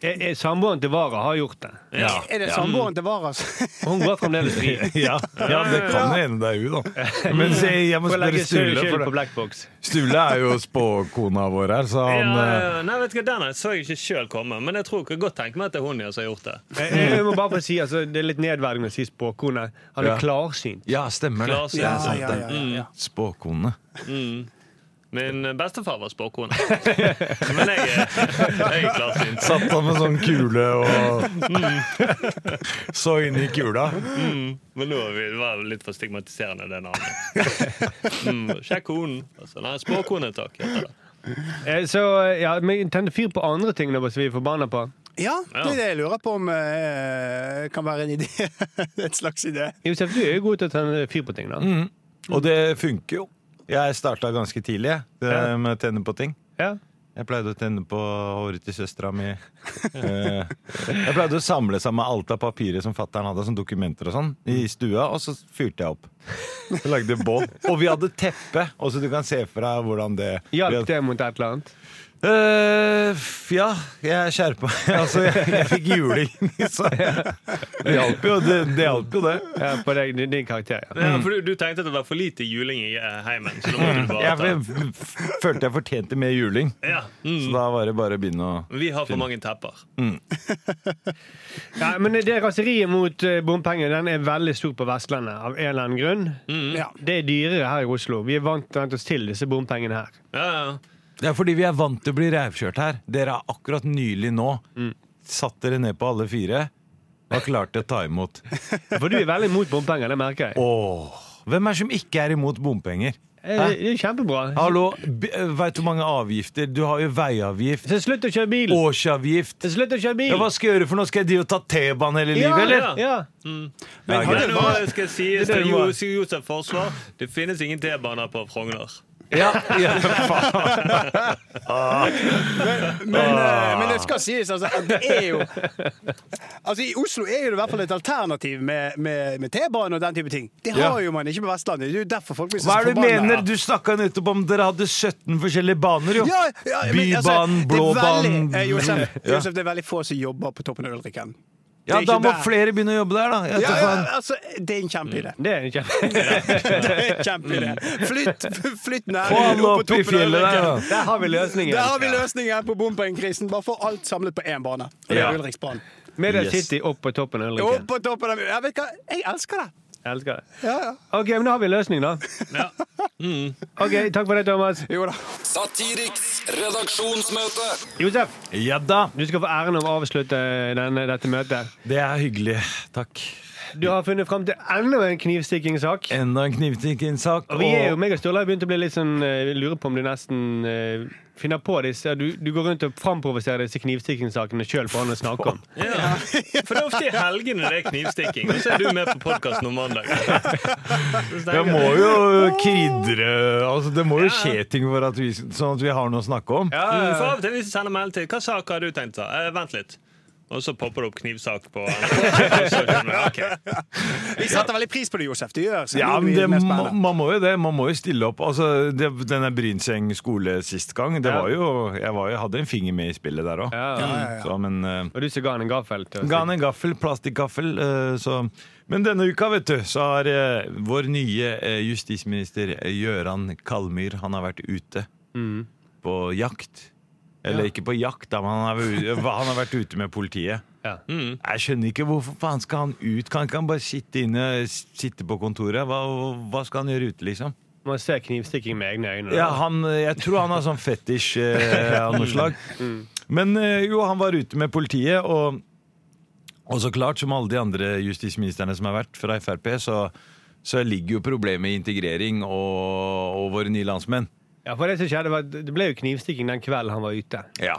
Speaker 3: Er, er Samboeren til Vara har gjort det.
Speaker 4: Ja.
Speaker 2: Er det sånn samboeren til Varas?
Speaker 3: Og hun går fremdeles fri.
Speaker 4: Ja, ja, det kan hende det er hun, da. Men se, jeg må
Speaker 3: Får
Speaker 4: spørre
Speaker 3: legge
Speaker 4: Sturle,
Speaker 3: skylden på
Speaker 4: for det.
Speaker 3: Blackbox.
Speaker 4: Sturle er jo spåkona vår her, så han
Speaker 6: ja,
Speaker 4: eh,
Speaker 6: ja, ja. Nei, vet du hva, Den så jeg ikke sjøl komme, men jeg tror jeg kan godt tenke meg at det er hun ja som har gjort det.
Speaker 3: Jeg, jeg må bare få si, altså, Det er litt nedverdigende å si spåkone. Han er
Speaker 4: Ja.
Speaker 3: klarsynt.
Speaker 4: Ja, stemmer det.
Speaker 6: Klarsyn.
Speaker 4: Det er sant,
Speaker 2: Ja, ja, ja, ja, ja.
Speaker 4: det. Spåkone.
Speaker 6: Min eh, bestefar var spåkone. Men jeg, eh, jeg er klarsynt.
Speaker 4: Satt han med sånn kule og så inn i kula.
Speaker 6: Men nå var vi- det var litt for stigmatiserende, det navnet. Mm, sjekk konen. Altså, nei, spåkone, takk. heter det.
Speaker 3: Eh, Så ja, men tenner fyr på andre ting da, som vi er forbanna på.
Speaker 2: Ja, det
Speaker 6: Ja.
Speaker 2: er det jeg lurer på om eh, kan være en idé. Et slags idé.
Speaker 3: Josef, du er jo god til å tenne fyr på ting. da
Speaker 4: Og det funker jo. Jeg starta ganske tidlig jeg, det
Speaker 3: Ja.
Speaker 4: med å tenne på ting.
Speaker 3: ja.
Speaker 4: Jeg pleide å tenne på håret til søstera mi. Eh, Jeg pleide å samle sammen alt av papiret som fattern hadde, som dokumenter og sånn, i stua, og så fyrte jeg opp. Jeg lagde bål. Og vi hadde teppe, og så du kan se for deg hvordan det
Speaker 3: Hjalp det mot et eller annet?
Speaker 4: Eh, f- ja, jeg skjerpa meg. Altså, jeg, jeg fikk juling, så Det hjalp jo, det. det, hjalp jo det.
Speaker 3: Ja, på deg, din din karakter, ja.
Speaker 4: Mm.
Speaker 6: Ja, for du, du tenkte at det var for lite juling i eh, heimen, så da måtte du bare
Speaker 4: Jeg
Speaker 6: ta.
Speaker 4: f- f- følte jeg fortjente mer juling,
Speaker 6: Ja, mm.
Speaker 4: så da var det bare å begynne å
Speaker 6: Vi har for mange tepper.
Speaker 3: Ja, men det raseriet mot eh, bompenger den er veldig stor på Vestlandet, av en eller annen grunn.
Speaker 4: Mm.
Speaker 2: Ja.
Speaker 3: Det er dyrere her i Oslo. Vi er vant, vant oss til disse bompengene her.
Speaker 6: Ja, ja.
Speaker 4: Det er fordi vi er vant til å bli rævkjørt her. Dere har akkurat nylig nå satt dere ned på alle fire og klart å ta imot.
Speaker 3: For du er veldig imot bompenger, det merker jeg.
Speaker 4: Åh, hvem er det som ikke er imot bompenger?
Speaker 3: Eh, Det er jo kjempebra.
Speaker 4: Hallo, veit du hvor mange avgifter? Du har jo veiavgift,
Speaker 3: Så slutt å kjøre bil!
Speaker 4: årsavgift
Speaker 3: Så slutt å kjøre bil!
Speaker 4: Ja, hva skal jeg gjøre for noe? Skal jeg drive og ta T-banen hele livet, eller?
Speaker 3: Ja, ja.
Speaker 4: Ja,
Speaker 6: Men
Speaker 4: greit.
Speaker 6: nå skal jeg si til Jo- Josef Forsvar det finnes ingen T-baner på Frogner.
Speaker 4: ja, ja, faen.
Speaker 2: Men,
Speaker 4: Ah.
Speaker 2: eh, men det skal sies, altså. At det er jo Altså, I Oslo er jo det i hvert fall et alternativ med, med, med T-bane og den type ting. Det har
Speaker 4: Ja.
Speaker 2: jo man ikke på Vestlandet. Det er jo derfor folk blir så
Speaker 4: Hva er det du
Speaker 2: altså, forbanna.
Speaker 4: mener? Du snakka nettopp om dere hadde 17 forskjellige baner, jo.
Speaker 2: Ja, ja, men, altså,
Speaker 4: Bybanen,
Speaker 2: det er veldig-
Speaker 4: blåbanen
Speaker 2: eh, Josef,
Speaker 4: Ja.
Speaker 2: Josef, det er veldig få som jobber på toppen av Ulriken.
Speaker 4: Ja,
Speaker 2: det er
Speaker 4: da
Speaker 2: ikke
Speaker 4: må
Speaker 2: der.
Speaker 4: flere begynne å jobbe der, da. Jeg
Speaker 2: Ja,
Speaker 4: vet
Speaker 2: ja,
Speaker 4: faen. Mm.
Speaker 2: altså, det er en kjempeidé.
Speaker 3: Det er kjempe...
Speaker 2: Det er en kjempeidé. Flytt, flytt
Speaker 4: Få
Speaker 2: næringen
Speaker 4: han
Speaker 2: opp på
Speaker 4: opp i
Speaker 2: toppen av
Speaker 4: fjellet der,
Speaker 2: Ulriken.
Speaker 4: da.
Speaker 3: Der har vi løsningen.
Speaker 2: Der har vi løsningen her på bompengekrisen. Bare få alt samlet på én bane. Og det
Speaker 4: Ja.
Speaker 2: er Ulriksbanen.
Speaker 3: Media
Speaker 4: Yes.
Speaker 3: City opp på toppen av
Speaker 2: Opp
Speaker 3: Ulriken.
Speaker 2: på toppen av Jeg vet hva, jeg elsker det.
Speaker 3: Jeg elsker det.
Speaker 2: Ja, ja.
Speaker 3: OK, men da har vi en løsning, da.
Speaker 6: Ja.
Speaker 3: Ok, Takk for det, Thomas.
Speaker 2: Jo da.
Speaker 5: Satiriks redaksjonsmøte.
Speaker 3: Josef,
Speaker 4: Ja da.
Speaker 3: du skal få æren av å avslutte denne, dette møtet.
Speaker 4: Det er hyggelig. Takk.
Speaker 3: Du har funnet fram til enda en knivstikkingssak.
Speaker 4: Enda en knivstikkingssak.
Speaker 3: Og vi er jo meg og Sturle har begynt å bli litt sånn eh, lurer på om du nesten eh, finner på disse du, du går rundt og framprovoserer disse knivstikkingssakene sjøl for han å snakke om.
Speaker 6: Ja. For det er ofte i helgene det er knivstikking, og så er du med på podkasten om mandag. Så tenker
Speaker 4: Jeg må
Speaker 6: jeg,
Speaker 4: jo krydre altså, Det må jo skje ting for at vi, sånn at vi har noe å snakke om.
Speaker 6: Mm, For av og til hvis jeg sender melding til Hva sak har du tenkt å ta? Eh, vent litt. Og så popper det opp knivsak på Så skjønner jeg, ok.
Speaker 2: Vi setter veldig pris på det, Josef. Det gjør så
Speaker 4: Ja,
Speaker 2: det
Speaker 4: men
Speaker 2: blir
Speaker 4: det,
Speaker 2: mer
Speaker 4: må-
Speaker 2: spennende.
Speaker 4: man må jo det. Man må jo stille opp. Altså, det, denne Brynseng skole sist gang, det
Speaker 3: Ja.
Speaker 4: var jo Jeg var, jo- hadde en finger med i spillet der òg.
Speaker 3: Ja.
Speaker 4: Så, men eh,
Speaker 3: Og du som ga han en gaffel. til å
Speaker 4: Ga han en gaffel, plastikkgaffel. eh, så. Men denne uka vet du, så har eh, vår nye eh, justisminister eh, Gøran Kalmyr Han har vært ute på jakt Eller ikke på jakt, da, men han har, vært ute- han har vært ute med politiet. Mm.
Speaker 3: Ja.
Speaker 4: Jeg skjønner ikke hvorfor faen skal han ut? Kan ikke han bare sitte inne sitte på kontoret? Hva, hva skal han gjøre ute, liksom?
Speaker 3: Man ser knivstikking med egne øyne.
Speaker 4: Ja, han, jeg tror han har sånn fetisj eh, av noe slag. Men eh, jo, han var ute med politiet, og, og så klart, som alle de andre justisministrene som har vært fra Frp, så, så ligger jo problemet i integrering og, og våre nye landsmenn.
Speaker 3: Ja, for Det som skjedde var at det ble jo knivstikking den kvelden han var ute.
Speaker 6: Ja.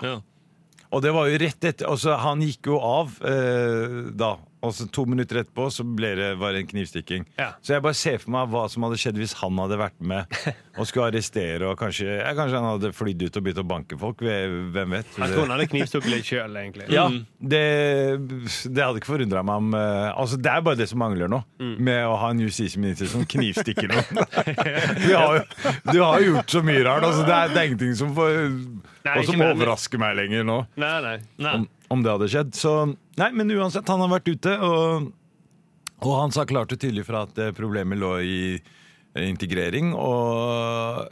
Speaker 4: Og det var jo rett etter Altså, han gikk jo av eh, da. Og så to minutter etterpå så ble det, var det en knivstikking.
Speaker 3: Ja.
Speaker 4: Så jeg bare ser for meg hva som hadde skjedd hvis han hadde vært med og skulle arrestere. Og kanskje, ja, kanskje han hadde flydd ut og begynt å banke folk. ve- Hvem vet?
Speaker 3: Jeg tror han Mm. hadde knivstukket litt sjøl, egentlig.
Speaker 4: Ja, det, det hadde ikke forundra meg om eh, Altså, Det er bare det som mangler nå,
Speaker 3: Mm.
Speaker 4: med å ha en justisminister som knivstikker noen. du, har, jo- du har gjort så mye rart. Altså, det, er, det er ingenting som, får,
Speaker 3: Nei,
Speaker 4: og
Speaker 3: ikke
Speaker 4: som
Speaker 3: mer.
Speaker 4: overrasker meg lenger nå,
Speaker 3: Nei, nei.
Speaker 6: Nei.
Speaker 4: om, om det hadde skjedd. Så nei, men uansett, han har vært ute, og, og han sa klart og tydelig fra at eh, problemet lå i integrering, og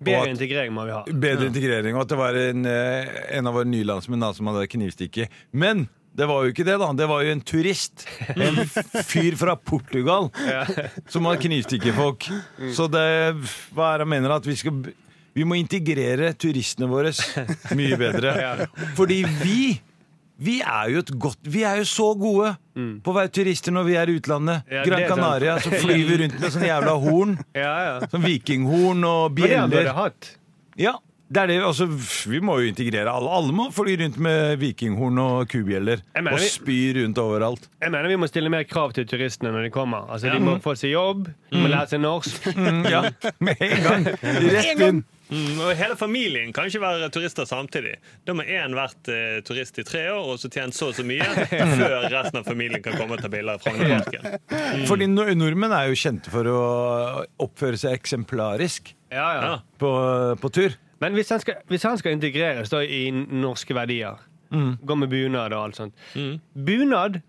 Speaker 4: og
Speaker 3: Bedre
Speaker 4: at-
Speaker 3: integrering må vi ha.
Speaker 4: Bedre integrering, og at det var en, eh, en av våre nye landsmenn da, som hadde knivstikket. Men det var jo ikke det, da. Det var jo en turist. En fyr fra Portugal som har knivstikket folk.
Speaker 3: Mm.
Speaker 4: Så det Hva er det han mener? At vi skal b- Vi må integrere turistene våre mye bedre. Fordi vi vi er jo et godt Vi er jo så gode på å være turister når vi er i utlandet.
Speaker 3: Mm. Ja, det
Speaker 4: Gran
Speaker 3: er sant.
Speaker 4: Canaria, så flyr vi rundt med sånne jævla horn.
Speaker 3: Ja, ja.
Speaker 4: Sånn vikinghorn og
Speaker 3: Det var det han
Speaker 4: bjeller.
Speaker 3: burde hatt.
Speaker 4: Ja, det er det. Altså, vi må jo integrere alle. Alle må fly rundt med vikinghorn og kubjeller.
Speaker 3: Jeg mener
Speaker 4: Og
Speaker 3: vi-
Speaker 4: spy rundt overalt.
Speaker 3: Jeg mener Vi må stille mer krav til turistene når de kommer. Altså, De må få seg jobb, de må lære seg norsk.
Speaker 4: ja, med en gang. Rett inn.
Speaker 6: Mm, og hele familien kan ikke være turister samtidig. Da må én vært eh, turist i tre år og så tjent så og så mye før resten av familien kan komme og ta bilder. fra Frognerparken.
Speaker 4: Fordi nor- nordmenn er jo kjente for å oppføre seg eksemplarisk
Speaker 3: Ja, ja.
Speaker 6: Ja.
Speaker 4: på, på tur.
Speaker 3: Men hvis han skal, hvis han skal integreres da, i norske verdier, gå med bunad og alt sånt Bunad?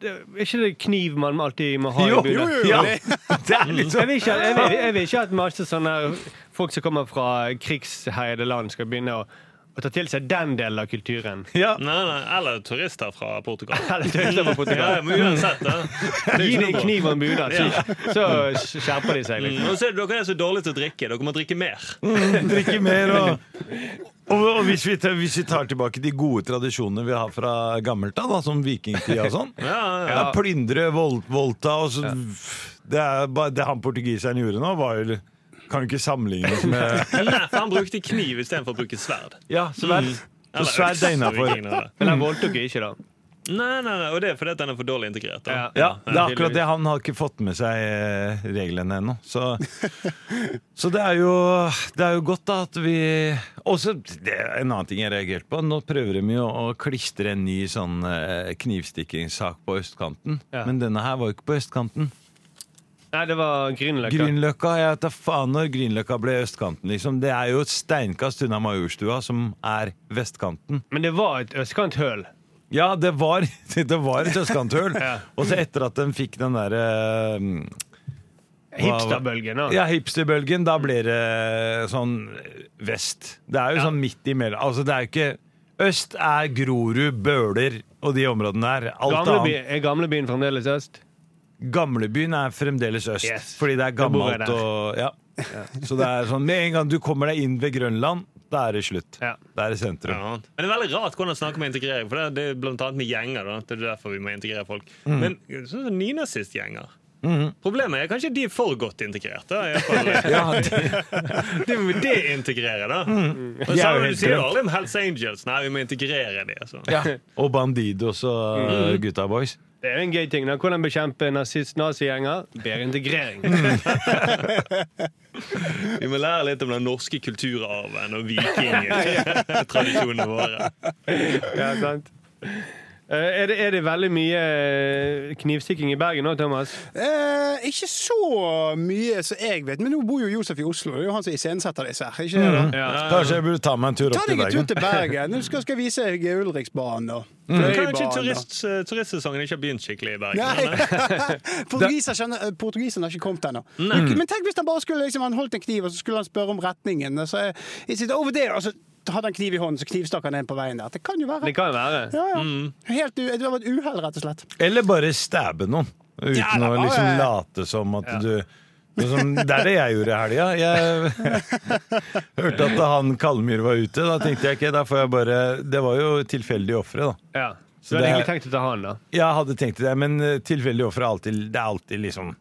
Speaker 3: Det, er ikke det kniv man alltid må ha i bunad?
Speaker 4: Ja. Det er
Speaker 3: Jeg
Speaker 4: liksom
Speaker 3: vil, ikke, jeg, vil, jeg vil ikke at masse sånne folk som kommer fra krigsherjede land, skal begynne å, å ta til seg den delen av kulturen.
Speaker 4: ja.
Speaker 6: Nei, nei, eller turister fra Portugal.
Speaker 3: Eller turister fra Portugal.
Speaker 6: Ja, men uansett, da.
Speaker 3: Gi dem en kniv og en bunad, så, så skjerper de seg.
Speaker 6: Mm,
Speaker 3: Liksom.
Speaker 6: Og så er det, dere er så dårlige til å drikke. Dere må drikke mer.
Speaker 4: Drikke mer og og, og hvis, vi, tar- hvis vi tar tilbake de gode tradisjonene vi har fra gammelt av, da, som vikingtida og sånn,
Speaker 6: Ja, ja,
Speaker 4: Ja, plyndre vol Volta og så, det, er bare, det han portugiseren gjorde nå, var jo Kan jo ikke sammenlignes med
Speaker 6: ja. Nei, for han brukte kniv istedenfor å bruke sverd.
Speaker 4: Ja, sverd. Så
Speaker 6: Eller
Speaker 4: sverd
Speaker 6: øks,
Speaker 4: er innafor.
Speaker 6: vikingene, da.
Speaker 3: Men han voldtok jo ikke, da.
Speaker 6: Nei, nei, nei, og det er fordi at den er for dårlig integrert. Da.
Speaker 3: Ja.
Speaker 4: Ja, det er akkurat det. Han har ikke fått med seg eh, reglene ennå. Så, så det, er jo, det er jo godt da at vi Og så det er en annen ting jeg reagerte på. Nå prøver de jo å klistre en ny sånn eh, knivstikkingssak på østkanten.
Speaker 3: Ja.
Speaker 4: Men denne her var jo ikke på østkanten.
Speaker 3: Nei, det var Grünerløkka.
Speaker 4: Grünerløkka, jeg vet da faen når Grünerløkka ble østkanten, liksom. Det er jo et steinkast unna Majorstua, som er vestkanten.
Speaker 3: Men det var et østkanthøl.
Speaker 4: Ja, det var, det var et østkanthull. Og så etter at den fikk den eh, derre
Speaker 3: Hipsterbølgen. da.
Speaker 4: ja, hipsterbølgen, da ble det sånn vest. Det er jo sånn midt imellom. Altså, det er jo ikke Øst er Grorud, Bøler og de områdene der. Alt
Speaker 3: Gamleby,
Speaker 4: annet.
Speaker 3: er gamlebyen fremdeles øst?
Speaker 4: Gamlebyen er fremdeles øst,
Speaker 3: Yes.
Speaker 4: fordi det er
Speaker 3: Da bor jeg
Speaker 4: gammelt
Speaker 3: der.
Speaker 4: og ja. Så det er sånn, med en gang du kommer deg inn ved Grønland, da er det slutt.
Speaker 3: Ja.
Speaker 4: Da er det sentrum.
Speaker 6: Ja. Men det er veldig rart hvordan han snakker om integrering. For det er- det er blant annet med gjenger. Da. Det er derfor vi må integrere folk.
Speaker 4: Mm.
Speaker 6: Men sånn som nynazistgjenger Problemet er kanskje de er for godt integrert. Da. i hvert fall.
Speaker 4: Ja, det,
Speaker 6: Det må vi deintegrere, da. Og
Speaker 4: De Mm. er
Speaker 6: så har
Speaker 4: jo
Speaker 6: du-
Speaker 4: helt
Speaker 6: du sier
Speaker 4: glemt.
Speaker 6: aldri om Hells Angels. Nei, vi må integrere de. Altså.
Speaker 4: ja. Og Bandidos og
Speaker 3: Mm.
Speaker 4: uh, Gutta Boys.
Speaker 3: Det er jo en gøy ting. da. Hvordan bekjempe nazist- nazigjenger? Bedre integrering.
Speaker 6: Vi må lære litt om den norske kulturarven og vikingtradisjonene våre.
Speaker 3: Ja, sant. Eh, Er det, er det veldig mye eh, knivstikking i Bergen nå, Thomas?
Speaker 2: Eh, ikke så mye som jeg vet, men nå bor jo Josef i Oslo. Det er jo han som iscenesetter disse her. Ikke det, da?
Speaker 4: Kanskje jeg burde ta meg en tur
Speaker 2: Ta
Speaker 4: opp til
Speaker 2: deg en tur
Speaker 4: Mm. Bergen. Mm.
Speaker 2: til Bergen. Nå skal skal jeg vise deg Ulriksbanen og
Speaker 6: Kanskje
Speaker 2: Fløibanen,
Speaker 6: turist, eh, turistsesongen ikke har begynt skikkelig i
Speaker 2: da.
Speaker 6: Bergen.
Speaker 2: Nei.
Speaker 6: eller?
Speaker 2: Portugiser skjønner- eh, Portugiseren har ikke kommet ennå. Men tenk hvis han bare skulle liksom, han holdt en kniv og så skulle han spørre om retningen. og Så, eh, he said, over there, og så hadde han kniv i hånden, så knivstakk han en på veien der. Det kan jo være.
Speaker 3: Det kan jo være.
Speaker 2: Ja, ja. Helt u det var et uhell, rett og slett.
Speaker 4: Eller bare stabbe noen. Uten
Speaker 2: Ja, da,
Speaker 4: å liksom
Speaker 2: ja, ja.
Speaker 4: late som at du Sånn som- det er det jeg gjorde i helga. Jeg hørte at han Kalmyr var ute. Da tenkte jeg ikke, da får jeg bare Det var jo tilfeldige ofre, da.
Speaker 3: Ja.
Speaker 4: Så
Speaker 3: Så du hadde
Speaker 4: det-
Speaker 3: egentlig tenkt å ta han, da?
Speaker 4: Jeg hadde tenkt det, men eh, tilfeldige ofre er alltid Det er alltid liksom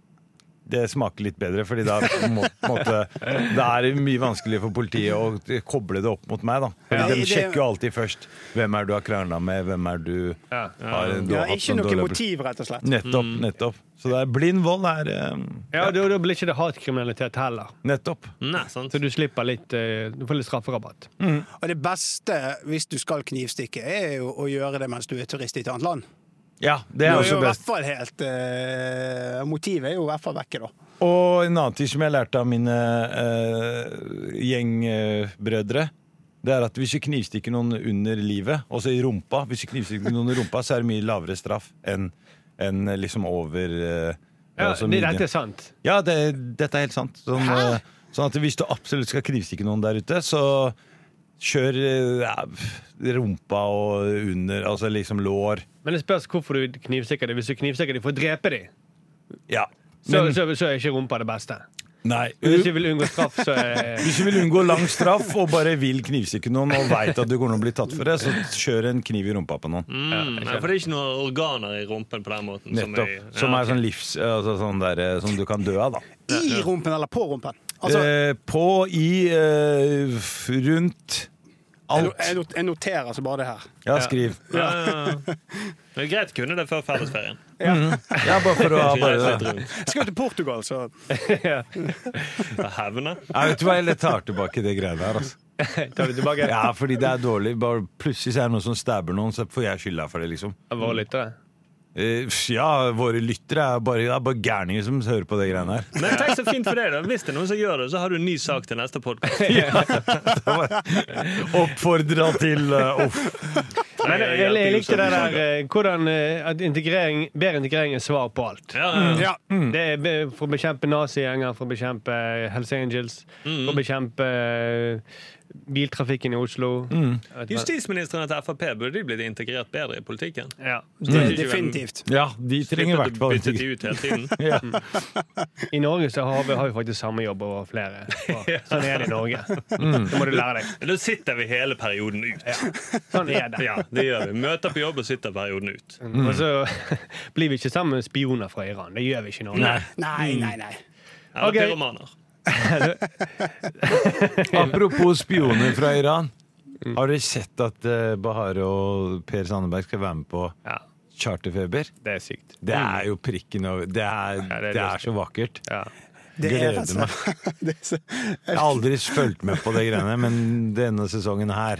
Speaker 4: det smaker litt bedre, fordi da må, på en måte, det er mye vanskeligere for politiet å koble det opp mot meg. da. Fordi
Speaker 3: Ja.
Speaker 4: De
Speaker 2: Det- det-
Speaker 4: sjekker jo alltid først hvem er du har krangla med, hvem er du
Speaker 3: Ja.
Speaker 4: har, du
Speaker 2: Ja,
Speaker 4: har hatt
Speaker 2: ikke
Speaker 4: noen
Speaker 2: noe
Speaker 4: dårlige-
Speaker 2: motiv, rett og slett.
Speaker 4: Nettopp. nettopp. Så det er blind vold er eh,
Speaker 3: Ja, og da, da blir ikke det hatkriminalitet heller.
Speaker 4: Nettopp.
Speaker 6: Nei, sant?
Speaker 3: Så du slipper litt eh, Du får litt strafferabatt.
Speaker 2: Og det beste hvis du skal knivstikke, er jo å gjøre det mens du er turist i et annet land.
Speaker 4: Ja, det
Speaker 2: Du
Speaker 4: er
Speaker 2: er jo
Speaker 4: også
Speaker 2: i hvert
Speaker 4: best.
Speaker 2: fall helt eh, Motivet er jo i hvert fall vekke, da.
Speaker 4: Og en annen ting som jeg lærte av mine eh, gjengbrødre, det er at hvis du knivstikker noen under livet, også i rumpa, hvis du knivstikker noen i rumpa, så er det mye lavere straff enn enn liksom over eh,
Speaker 3: Ja,
Speaker 4: altså
Speaker 3: det,
Speaker 4: midjen.
Speaker 3: dette er sant.
Speaker 4: Ja, det, dette er helt sant. Sånn, eh, sånn at hvis du absolutt skal knivstikke noen der ute, så eh, kjør eh, ja, rumpa og under, altså liksom lår.
Speaker 3: Men det spørs hvorfor du knivstikker dem. Hvis du knivstikker dem for å drepe dem,
Speaker 4: Ja.
Speaker 3: så,
Speaker 4: Men,
Speaker 3: så, så er ikke rumpa det beste.
Speaker 4: nei.
Speaker 3: Men Hvis du vil unngå straff, så er
Speaker 4: Hvis du vil unngå lang straff og bare vil knivstikke noen og veit at du kommer til å bli tatt for det, så kjør en kniv i rumpa på noen.
Speaker 6: Mm, nei, for det er ikke noen organer i rumpen på den måten.
Speaker 4: Nettopp.
Speaker 6: Som, i-
Speaker 4: Som
Speaker 6: ja,
Speaker 4: er sånn livs... Altså sånn der, eh, som du kan dø av, da.
Speaker 2: I rumpen eller på rumpen. Altså,
Speaker 4: eh, på, i, eh, f- rundt
Speaker 2: jeg,
Speaker 4: Alt.
Speaker 2: jeg not- jeg noterer altså bare det her.
Speaker 4: Ja, skriv.
Speaker 6: ja, ja, ja. Det er greit å kunne det før fellesferien.
Speaker 4: Ja, bare for å ha bare
Speaker 6: Reise litt rundt.
Speaker 2: Jeg skal jo til Portugal, så
Speaker 6: Ta Hevne.
Speaker 4: ja, Vet du hva, jeg tar tilbake det greiene her, altså.
Speaker 3: Tar vi tilbake?
Speaker 4: Ja, fordi det er dårlig. Bare plutselig så er det noen som stabber noen, så får jeg skylda for det, liksom.
Speaker 3: Våre lyttere.
Speaker 4: Eh, Ja, våre lyttere er bare, det er bare gærninger som hører på det greiene her.
Speaker 6: Men tenk så fint for deg, da. Hvis det er noen som gjør det, så har du en ny sak til neste podkast.
Speaker 4: Oppfordra til eh, Uff.
Speaker 3: Men jeg, jeg, jeg likte det der eh, hvordan eh, at integrering, bedre integrering er svar på alt.
Speaker 6: Ja, ja, ja.
Speaker 2: ja.
Speaker 3: Det er be- for å bekjempe nazigjenger, for å bekjempe eh, Hells Angels, for å bekjempe eh, biltrafikken i Oslo. At man-
Speaker 6: Justisministrene til Frp burde de blitt integrert bedre i politikken?
Speaker 3: Ja.
Speaker 6: Mm.
Speaker 2: Definitivt.
Speaker 4: Ja, de trenger i hvert fall
Speaker 6: Byttet
Speaker 4: ikke
Speaker 6: de ut hele tiden?
Speaker 4: ja.
Speaker 3: I Norge så har vi, har vi faktisk samme jobb over flere. år. Sånn er det i Norge. Det må du lære deg.
Speaker 6: Da sitter vi hele perioden ut.
Speaker 3: Sånn er det.
Speaker 6: Ja, det gjør vi. Møter på jobb og sitter perioden ut.
Speaker 3: Og så blir vi ikke sammen med spioner fra Iran. Det gjør vi ikke i Norge.
Speaker 2: Nei,
Speaker 4: Mm.
Speaker 2: nei, nei.
Speaker 6: Eller
Speaker 3: Ok.
Speaker 6: pyromaner.
Speaker 4: Apropos spioner fra Iran. Har dere sett at eh, Bahare og Per Sandeberg skal være med på
Speaker 3: Ja,
Speaker 4: Charterfeber?
Speaker 3: det er sykt.
Speaker 4: Det er jo prikken over Det er,
Speaker 3: det er
Speaker 4: Mm. det er så vakkert.
Speaker 3: Ja.
Speaker 2: Det er
Speaker 4: Gleder
Speaker 2: rett og
Speaker 4: meg.
Speaker 2: slett det er så-
Speaker 4: Jeg har aldri fulgt med på det greiene, men denne sesongen her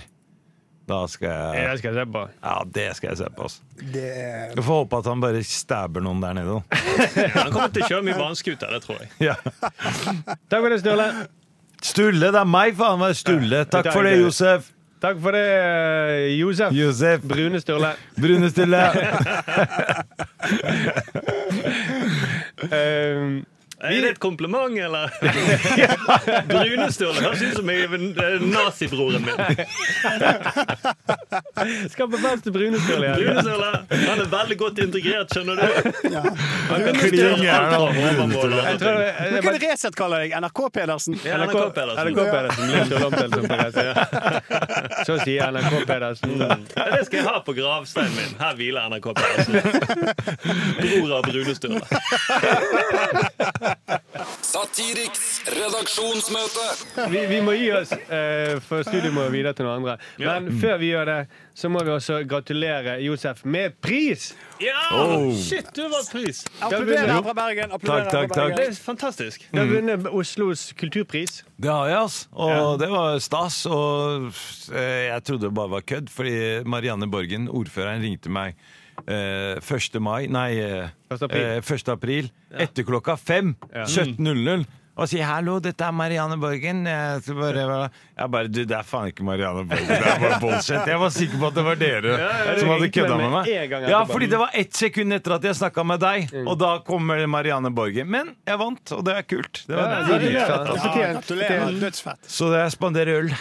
Speaker 4: Da skal jeg
Speaker 3: Det skal jeg se på.
Speaker 4: Ja, det skal jeg se på. Altså.
Speaker 2: det er-
Speaker 4: Jeg får håpe at han bare stabber noen der nede. da.
Speaker 6: Ja, Han kommer til å kjøre mye vannskuter, det tror jeg.
Speaker 4: Ja.
Speaker 3: Takk for det, Sturle.
Speaker 4: Stulle! Det er meg, faen! meg, Stulle. Takk for det, Josef.
Speaker 3: Takk for det, eh, Josef.
Speaker 4: Josef
Speaker 3: Brune Sturle.
Speaker 4: Brune Stulle.
Speaker 3: Um,
Speaker 6: Er det et kompliment, eller? Brunestøle høres ut som jeg er eh, nazibroren min.
Speaker 3: skal på plass til Brune Sturle. igjen.
Speaker 6: Brunestøle, Han er veldig godt integrert, skjønner du.
Speaker 2: ja.
Speaker 6: Han kan
Speaker 4: Klin
Speaker 6: styre
Speaker 4: gæren,
Speaker 6: alt
Speaker 4: han
Speaker 6: fra overmålet.
Speaker 3: Jeg tror det-
Speaker 2: Men
Speaker 3: jeg-
Speaker 2: kan Resett kalle deg NRK Pedersen?
Speaker 6: Ja,
Speaker 3: NRK
Speaker 6: NRK Pedersen.
Speaker 3: NRK Pedersen blir så omtalt som Perez. Så sier NRK Pedersen
Speaker 6: Ja, Det skal jeg ha på gravsteinen min. Her hviler NRK Pedersen. Bror av Brunestøle.
Speaker 5: Satiriks redaksjonsmøte.
Speaker 3: vi, vi må gi oss, eh, for studiet må videre til noen andre. Men før vi gjør det, så må vi også gratulere Josef med pris!
Speaker 6: Ja!
Speaker 4: Oh.
Speaker 6: Shit, du vant pris!
Speaker 2: Applauderer her fra Bergen. applauderer
Speaker 4: Takk,
Speaker 2: her
Speaker 4: takk,
Speaker 2: fra Bergen.
Speaker 4: takk.
Speaker 6: Det er fantastisk.
Speaker 3: Du har vunnet Oslos kulturpris.
Speaker 4: Det har jeg, altså. Og det var stas. Og eh, jeg trodde det bare var kødd, fordi Marianne Borgen, ordføreren, ringte meg eh, 1. mai Nei, eh,
Speaker 3: Første april.
Speaker 4: eh, 1. april etter klokka fem. 17.00. Og sier 'hallo, dette er Marianne Borgen'. Jeg skal bare, jeg bare Du, det er faen ikke Marianne Borgen. Det er bare bullshit. Jeg var sikker på at det var dere
Speaker 3: ja, du
Speaker 4: som
Speaker 3: ringte
Speaker 4: hadde
Speaker 3: meg
Speaker 4: kødda
Speaker 3: med
Speaker 4: med meg.
Speaker 3: en gang
Speaker 4: Ja,
Speaker 3: etterpå.
Speaker 4: fordi det var ett sekund etter at jeg snakka med deg,
Speaker 3: Mm.
Speaker 4: og da kommer Marianne Borgen. Men jeg vant, og det er kult. Det var
Speaker 3: Ja,
Speaker 4: det.
Speaker 3: gratulerer.
Speaker 2: Ja,
Speaker 3: Fortjent.
Speaker 2: gratulerer. Dødsfett.
Speaker 4: Så jeg spanderer øl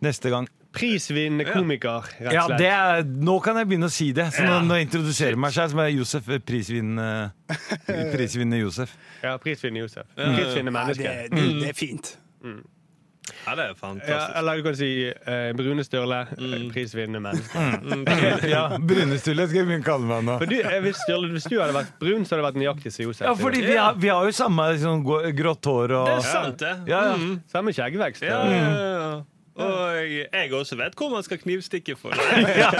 Speaker 4: neste gang.
Speaker 3: Prisvinnende komiker, rett
Speaker 4: Ja,
Speaker 3: og
Speaker 4: det
Speaker 3: slett.
Speaker 4: er, nå kan jeg begynne å si det. Så når når jeg introduserer meg selv, som er Josef eh, prisvinnende prisvinnende Josef.
Speaker 3: Ja, prisvinnende Josef. Prisvinnende
Speaker 2: Ja,
Speaker 3: menneske.
Speaker 2: det, det,
Speaker 4: Mm.
Speaker 2: det er fint.
Speaker 6: Ja, det er
Speaker 3: Ja,
Speaker 6: fantastisk.
Speaker 3: eller du kan si eh, Brune Sturle, eh, prisvinnende menneske.
Speaker 4: Ja, Brunestulle skal jeg begynne å kalle meg nå.
Speaker 3: For du, eh, hvis, Sturle, hvis du hadde vært brun, så hadde det vært nøyaktig som Josef.
Speaker 4: Ja, fordi vi har, vi har jo samme sånn, gå- grått hår og
Speaker 6: Det er sant, det.
Speaker 4: Ja, ja.
Speaker 6: Mm.
Speaker 3: Samme skjeggvekst.
Speaker 6: Ja,
Speaker 3: eh,
Speaker 6: ja, ja.
Speaker 3: Mm.
Speaker 6: Og jeg, jeg også vet hvor man skal knivstikke for.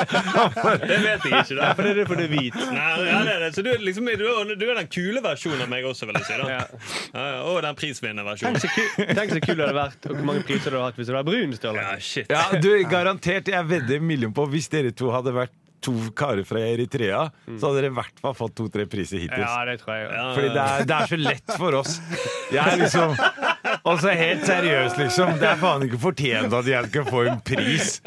Speaker 6: det vet jeg ikke. da
Speaker 3: For det er derfor det er hvit.
Speaker 6: Nei, ja, det er det. Så du, er liksom, du, er- du er den kule versjonen av meg også, vil jeg si. da
Speaker 3: Ja.
Speaker 6: ja. ja, Og den prisvinnende
Speaker 3: Tenk
Speaker 6: versjonen.
Speaker 3: så, ku, tenk så kul det hadde vært, og hvor mange priser du hadde hatt hvis du var brun. Sturle.
Speaker 6: Ja, shit.
Speaker 4: Ja, du, garantert, jeg vedder en million på Hvis dere to hadde vært to karer fra Eritrea, så hadde dere i hvert fall fått to-tre priser hittil.
Speaker 3: Ja, det tror jeg. Ja.
Speaker 4: Fordi det er, det er så lett for oss. Jeg er liksom Og så helt seriøst, liksom. Det er faen ikke fortjent at jeg skal få en pris.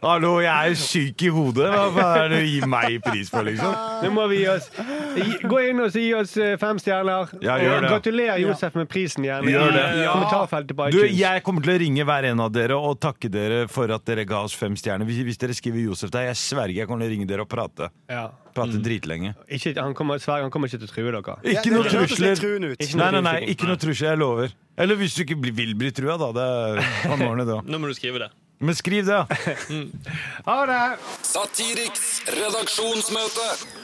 Speaker 4: Hallo, jeg er jo syk i hodet. Hva faen er det du gir meg pris for, liksom?
Speaker 3: Nå må vi gi oss gi- Gå inn og gi oss eh, fem stjerner.
Speaker 4: Ja, gjør
Speaker 3: og
Speaker 4: det.
Speaker 3: gratulerer Josef med prisen gjerne
Speaker 4: Gjør
Speaker 3: i
Speaker 4: det. Ja.
Speaker 3: kommentarfeltet på
Speaker 4: Du,
Speaker 3: iTunes.
Speaker 4: jeg kommer til å ringe hver en av dere og takke dere for at dere ga oss fem stjerner. Hvis, hvis dere skriver Josef der, jeg sverger jeg kommer til å ringe dere og prate.
Speaker 3: Ja.
Speaker 4: Prate dritlenge.
Speaker 3: Ikke, han, kommer, Sverre, han kommer ikke til å true dere.
Speaker 2: Ja,
Speaker 4: Ikke
Speaker 2: Mm. det
Speaker 4: noe
Speaker 2: hørtes litt
Speaker 4: trusler.
Speaker 2: truende ut.
Speaker 4: Nei, nei, nei, ikke noe trusler, jeg lover. Eller hvis du ikke blir- vil bli trua, da. Det er han ordner det også.
Speaker 6: Nå må du skrive det.
Speaker 4: Men skriv det, da.
Speaker 3: Ha det!
Speaker 5: Satiriks redaksjonsmøte.